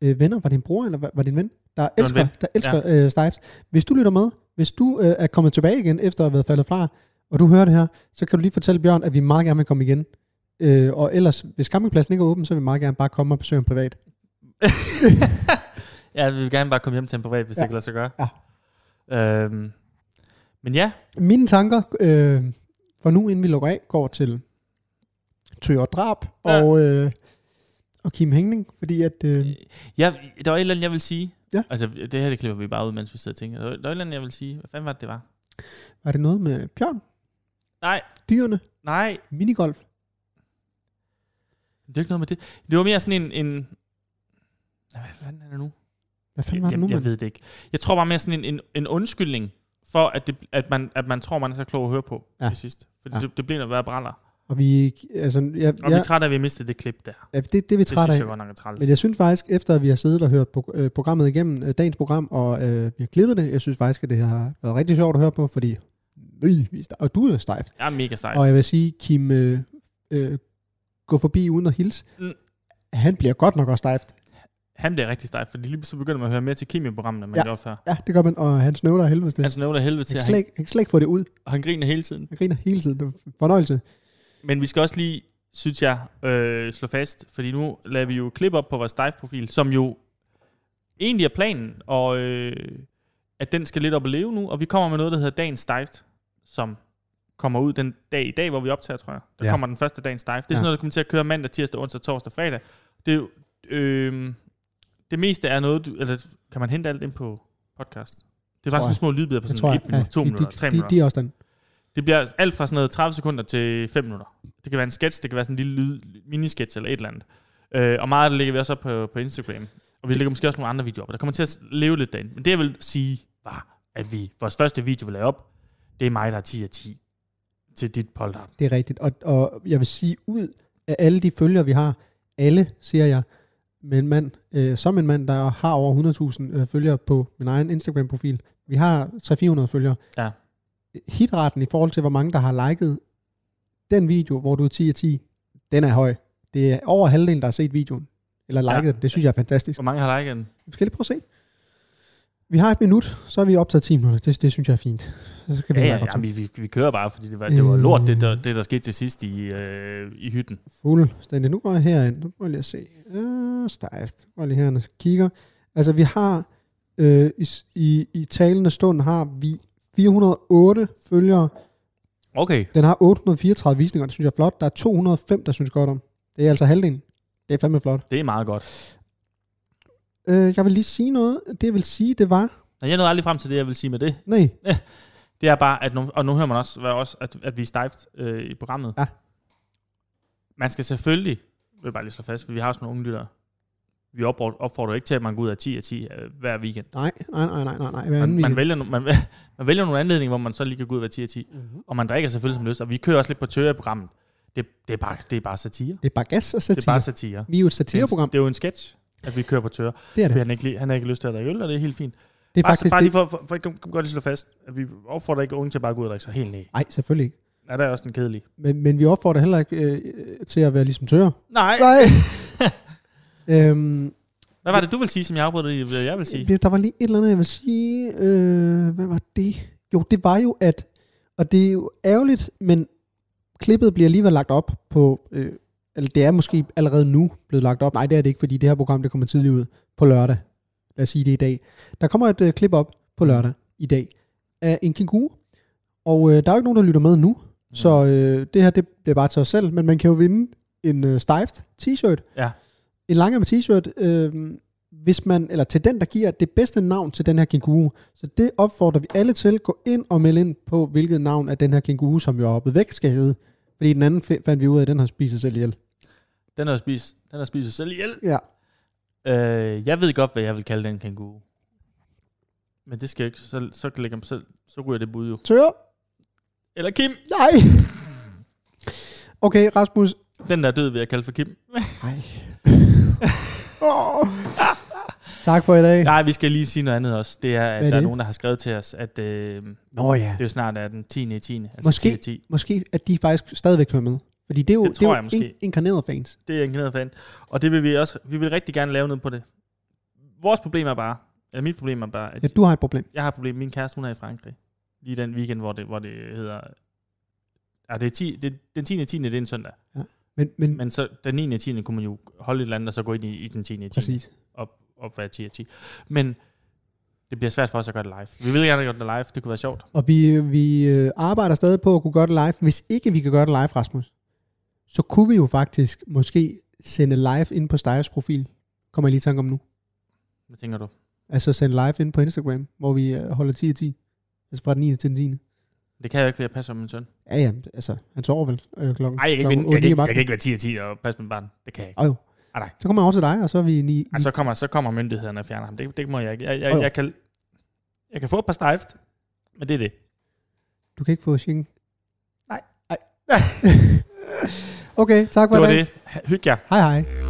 Speaker 10: øh, venner. Var det en bror, eller var, var det en ven? Der
Speaker 11: en
Speaker 10: elsker,
Speaker 11: ven,
Speaker 10: der elsker ja. øh, Stives. Hvis du lytter med, hvis du øh, er kommet tilbage igen, efter at have været faldet fra, og du hører det her, så kan du lige fortælle Bjørn, at vi meget gerne vil komme igen. Øh, og ellers, hvis campingpladsen ikke er åben, så vil vi meget gerne bare komme og besøge ham privat.
Speaker 11: Ja, vi vil gerne bare komme hjem til en privat, hvis ja. det kan lade sig gøre. Ja. Øhm, men ja,
Speaker 10: Mine tanker øh, for nu, inden vi lukker af, går til Tøger Drab ja. og, øh, og Kim Hængning, fordi at... Øh,
Speaker 11: Ja, der var et eller andet, jeg vil sige.
Speaker 10: Ja.
Speaker 11: Altså, det her, det klipper vi bare ud, mens vi sidder og tænker. Der var der var et eller andet, jeg vil sige. Hvad fanden var det, det var?
Speaker 10: var det noget med Bjørn?
Speaker 11: Nej.
Speaker 10: Dyrene?
Speaker 11: Nej.
Speaker 10: Minigolf?
Speaker 11: Det er ikke noget med det. Det var mere sådan en... en Ja, Hvad fanden er det nu?
Speaker 10: Hvad fanden var det
Speaker 11: jeg,
Speaker 10: nu,
Speaker 11: jeg
Speaker 10: mand?
Speaker 11: ved det ikke. Jeg tror bare mere sådan en, en, en undskyldning for, at, det, at, man, at man tror, man er så klog at høre på
Speaker 10: Ja.
Speaker 11: ja. til sidst. Fordi
Speaker 10: Ja.
Speaker 11: ja. det, det bliver noget værre brænder.
Speaker 10: Og vi... Altså, jeg,
Speaker 11: Og ja. vi er trætte af, at vi har mistet det klip der.
Speaker 10: Ja, det, det er vi trætte
Speaker 11: synes
Speaker 10: af.
Speaker 11: jeg godt nok er træls.
Speaker 10: Men jeg synes faktisk, efter at vi har siddet og hørt pro- øh, programmet igennem, øh, dagens program, og øh, vi har klippet det, jeg synes faktisk, at det har været rigtig sjovt at høre på, fordi... Øh, vi er sta- og du er stejf.
Speaker 11: Jeg er mega stejf.
Speaker 10: Og jeg vil sige, Kim, øh, øh, gå forbi uden at hilse.
Speaker 11: Mm.
Speaker 10: Han bliver godt nok også stejft.
Speaker 11: Han bliver rigtig stejf, fordi lige så begynder man at høre mere til Kim i programmet, end man
Speaker 10: Ja.
Speaker 11: ja. gjorde før.
Speaker 10: Ja, det gør man, og han snøvler af helvede til.
Speaker 11: Han snøvler af helvede
Speaker 10: Han
Speaker 11: til, og
Speaker 10: kan slet
Speaker 11: han-
Speaker 10: ikke- han kan slet ikke få det ud.
Speaker 11: Og han griner hele tiden.
Speaker 10: Han griner hele tiden. Det er en fornøjelse.
Speaker 11: Men vi skal også lige, synes jeg, øh, slå fast, fordi nu lader vi jo klip op på vores dive-profil, som jo egentlig er planen, og øh, at den skal lidt op og leve nu, og vi kommer med noget, der hedder Dagens Dive, som kommer ud den dag i dag, hvor vi optager, tror jeg. Der
Speaker 3: Ja.
Speaker 11: ja. kommer den første Dagens Dive. Det er
Speaker 3: Ja.
Speaker 11: sådan noget, der kommer til at køre mandag, tirsdag, onsdag, torsdag, fredag. Det, er jo, øh, det meste er noget, du, eller kan man hente alt ind på podcast? Det er
Speaker 10: Tror
Speaker 11: faktisk
Speaker 10: jeg.
Speaker 11: nogle små lydbider på
Speaker 10: Det
Speaker 11: sådan
Speaker 10: tror jeg.
Speaker 11: 1 minut,
Speaker 10: Ja,
Speaker 11: 2
Speaker 10: de- de-
Speaker 11: minutter, 3
Speaker 10: de-
Speaker 11: minutter.
Speaker 10: de er også den.
Speaker 11: Det bliver alt fra sådan noget 30 sekunder til 5 minutter. Det kan være en sketch, det kan være sådan en lille lyd, minisketch eller et eller andet. Øh, og meget af det lægger vi også op på, på Instagram. Og vi lægger måske også nogle andre videoer op, og der kommer til at leve lidt derinde. Men det jeg vil sige var, at vi, vores første video, vi lavede op, det er mig, der er 10 af 10 til dit polter.
Speaker 10: Det er rigtigt. Og, og jeg vil sige, ud af alle de følgere, vi har, alle, siger jeg, med en mand, øh, som en mand, der har over 100.000 øh, følgere på min egen Instagram-profil. Vi har 300-400 følgere.
Speaker 11: Ja.
Speaker 10: Hitraten i forhold til, hvor mange der har liket den video, hvor du er 10 af 10, den er høj. Det er over halvdelen, der har set videoen. Eller liket ja. Det synes jeg er fantastisk.
Speaker 11: Hvor mange har liket den?
Speaker 10: Vi skal lige prøve at se. Vi har et minut, så er vi optaget 10 minutter. Det, det synes jeg er fint. Så skal vi
Speaker 11: Ja,
Speaker 10: heller
Speaker 11: ja,
Speaker 10: ikke
Speaker 11: ja
Speaker 10: optage.
Speaker 11: vi, vi, vi, kører bare, fordi det var, det var
Speaker 10: Øh.
Speaker 11: lort, det der, det der skete til sidst i, øh, i hytten.
Speaker 10: Fuldstændig. Nu går jeg herind. Nu prøver jeg lige at se. Øh, stejst. Nu går jeg lige herind og kigger. Altså, vi har øh, i, s- i, i talende stund har vi 408 følgere.
Speaker 11: Okay.
Speaker 10: Den har 834 visninger, det synes jeg er flot. Der er 205, der synes godt om. Det er altså halvdelen. Det er fandme flot.
Speaker 11: Det er meget godt.
Speaker 10: Øh, jeg vil lige sige noget. Det jeg vil sige, det var...
Speaker 11: Og jeg nåede aldrig frem til det, jeg vil sige med det.
Speaker 10: Nej.
Speaker 11: Det er bare, at nu, og nu hører man også, hvad også at, at vi er stejft øh, i programmet.
Speaker 10: Ja.
Speaker 11: Man skal selvfølgelig, vil jeg bare lige slå fast, for vi har også nogle unge lyttere. Vi opfordrer, opfordrer ikke til, at man går ud af 10 af 10 øh, hver weekend.
Speaker 10: Nej, nej, nej, nej, nej, nej. Hver anden
Speaker 11: Man, man,
Speaker 10: weekend.
Speaker 11: vælger, no- man, *laughs* man vælger nogle anledninger, hvor man så lige kan gå ud af 10 af 10.
Speaker 10: Mhm.
Speaker 11: Og man drikker selvfølgelig som lyst. Og vi kører også lidt på tøjer i programmet. Det, det, er bare, det er bare satire.
Speaker 10: Det er bare gas og satire.
Speaker 11: Det er bare satire.
Speaker 10: Vi er jo et
Speaker 11: Det er,
Speaker 10: satireprogram.
Speaker 11: en- det er jo en sketch, at vi kører på tøjer.
Speaker 10: Det er det.
Speaker 11: Fordi han, ikke, li- han har ikke lyst til at drikke øl, og det er helt fint.
Speaker 10: Det er
Speaker 11: bare,
Speaker 10: faktisk
Speaker 11: bare
Speaker 10: det-
Speaker 11: lige for, for, for, for, for godt lige slå fast, at vi opfordrer ikke unge til at bare gå ud og drikke sig helt ned.
Speaker 10: Nej, selvfølgelig ikke.
Speaker 11: Ja, der er også den kedelige.
Speaker 10: Men, men vi opfordrer heller ikke øh, øh, til at være ligesom tør.
Speaker 11: Nej.
Speaker 10: Nej.
Speaker 11: *laughs*
Speaker 10: øhm,
Speaker 11: Hvad var det, du ville sige, som jeg afbrød dig i, hvad jeg vil sige?
Speaker 10: Øh, Der var lige et eller andet, jeg vil sige. Øh, hvad var det? Jo, det var jo, at... Og det er jo ærgerligt, men klippet bliver alligevel lagt op på... Øh, eller det er måske allerede nu blevet lagt op. Nej, det er det ikke, fordi det her program det kommer tidligt ud på lørdag. Lad os sige det i dag. Der kommer et øh, klip op på lørdag i dag af en kænguru. Og øh, der er jo ikke nogen, der lytter med nu.
Speaker 11: Mm.
Speaker 10: Så øh, det her, det bliver bare til os selv. Men man kan jo vinde en øh, stejft t-shirt.
Speaker 11: Ja.
Speaker 10: En langærmet t-shirt, øh, hvis man, eller til den, der giver det bedste navn til den her kænguru. Så det opfordrer vi alle til. Gå ind og meld ind på, hvilket navn af den her kænguru, som jo er oppe væk, skal hedde. Fordi den anden fi- fandt vi ud af, at den har spist sig selv ihjel.
Speaker 11: Den har spist, den har spist sig selv ihjel.
Speaker 10: Ja.
Speaker 11: Øh, jeg ved godt, hvad jeg vil kalde den kanguru. Men det skal jeg ikke. Så, så, kan jeg lægge ham selv. så ryger det bud jo.
Speaker 10: Tør?
Speaker 11: Eller Kim.
Speaker 10: Nej. Okay, Rasmus.
Speaker 11: Den der er død, vil jeg kalde for Kim.
Speaker 10: Nej. *laughs* Åh. Tak for i dag.
Speaker 11: Nej, vi skal lige sige noget andet også. Det er, at
Speaker 10: Hvad er
Speaker 11: der er
Speaker 10: det?
Speaker 11: nogen, der har skrevet til os, at øh,
Speaker 10: Nå ja.
Speaker 11: det er jo snart er den 10. i 10. Altså
Speaker 10: Måske,
Speaker 11: 10. 10.
Speaker 10: måske at de faktisk stadigvæk hører med. Fordi det er jo,
Speaker 11: Det
Speaker 10: det
Speaker 11: tror
Speaker 10: er
Speaker 11: jeg
Speaker 10: jo
Speaker 11: måske.
Speaker 10: in- inkarnerede fans.
Speaker 11: Det er en knæder fan. Og det vil vi også, vi vil rigtig gerne lave noget på det. Vores problem er bare, eller mit problem er bare, at
Speaker 10: Ja, du har et problem.
Speaker 11: jeg har et problem. Min kæreste, hun er i Frankrig. Lige den weekend, hvor det, hvor det hedder... Ja, det er 10, det, den 10. 10. det er en søndag.
Speaker 10: Ja. Men, men,
Speaker 11: men så den 9. 10. kunne man jo holde et eller andet, og så gå ind i, i den 10. 10.
Speaker 10: Præcis.
Speaker 11: Op, op hver 10. 10. Men det bliver svært for os at gøre det live. Vi vil gerne gøre det live, det kunne være sjovt.
Speaker 10: Og vi, øh, vi øh, arbejder stadig på at kunne gøre det live. Hvis ikke vi kan gøre det live, Rasmus, så kunne vi jo faktisk måske sende live ind på Steyers profil. Kommer jeg lige i tanke om nu.
Speaker 11: Hvad tænker du?
Speaker 10: Altså sende live ind på Instagram, hvor vi øh, holder 10 af 10. Altså fra den 9. til den 10.
Speaker 11: Det kan jeg jo ikke, fordi jeg passer min søn.
Speaker 10: Ja, ja, altså han sover vel øh, klokken.
Speaker 11: Nej, jeg, kan ikke,
Speaker 10: klokken
Speaker 11: vinde- jeg,
Speaker 10: otte
Speaker 11: kan
Speaker 10: i
Speaker 11: ikke, jeg
Speaker 10: aften.
Speaker 11: kan ikke være 10 10 og passe mit barn. Det kan jeg ikke.
Speaker 10: Åh, jo.
Speaker 11: Ah, nej. Altså-
Speaker 10: Så kommer jeg over til dig, og så er vi ni.
Speaker 11: Ej, så kommer, så kommer myndighederne og fjerner ham. Det, det må jeg ikke. Jeg, jeg,
Speaker 10: Åh,
Speaker 11: jeg,
Speaker 10: jo.
Speaker 11: jeg, kan, jeg kan få et par stejft, men det er det.
Speaker 10: Du kan ikke få Schengen. *laughs* Nej. Nej. okay, tak for
Speaker 11: Det
Speaker 10: i
Speaker 11: var
Speaker 10: dag.
Speaker 11: det. Hyg jer.
Speaker 10: Hej hej.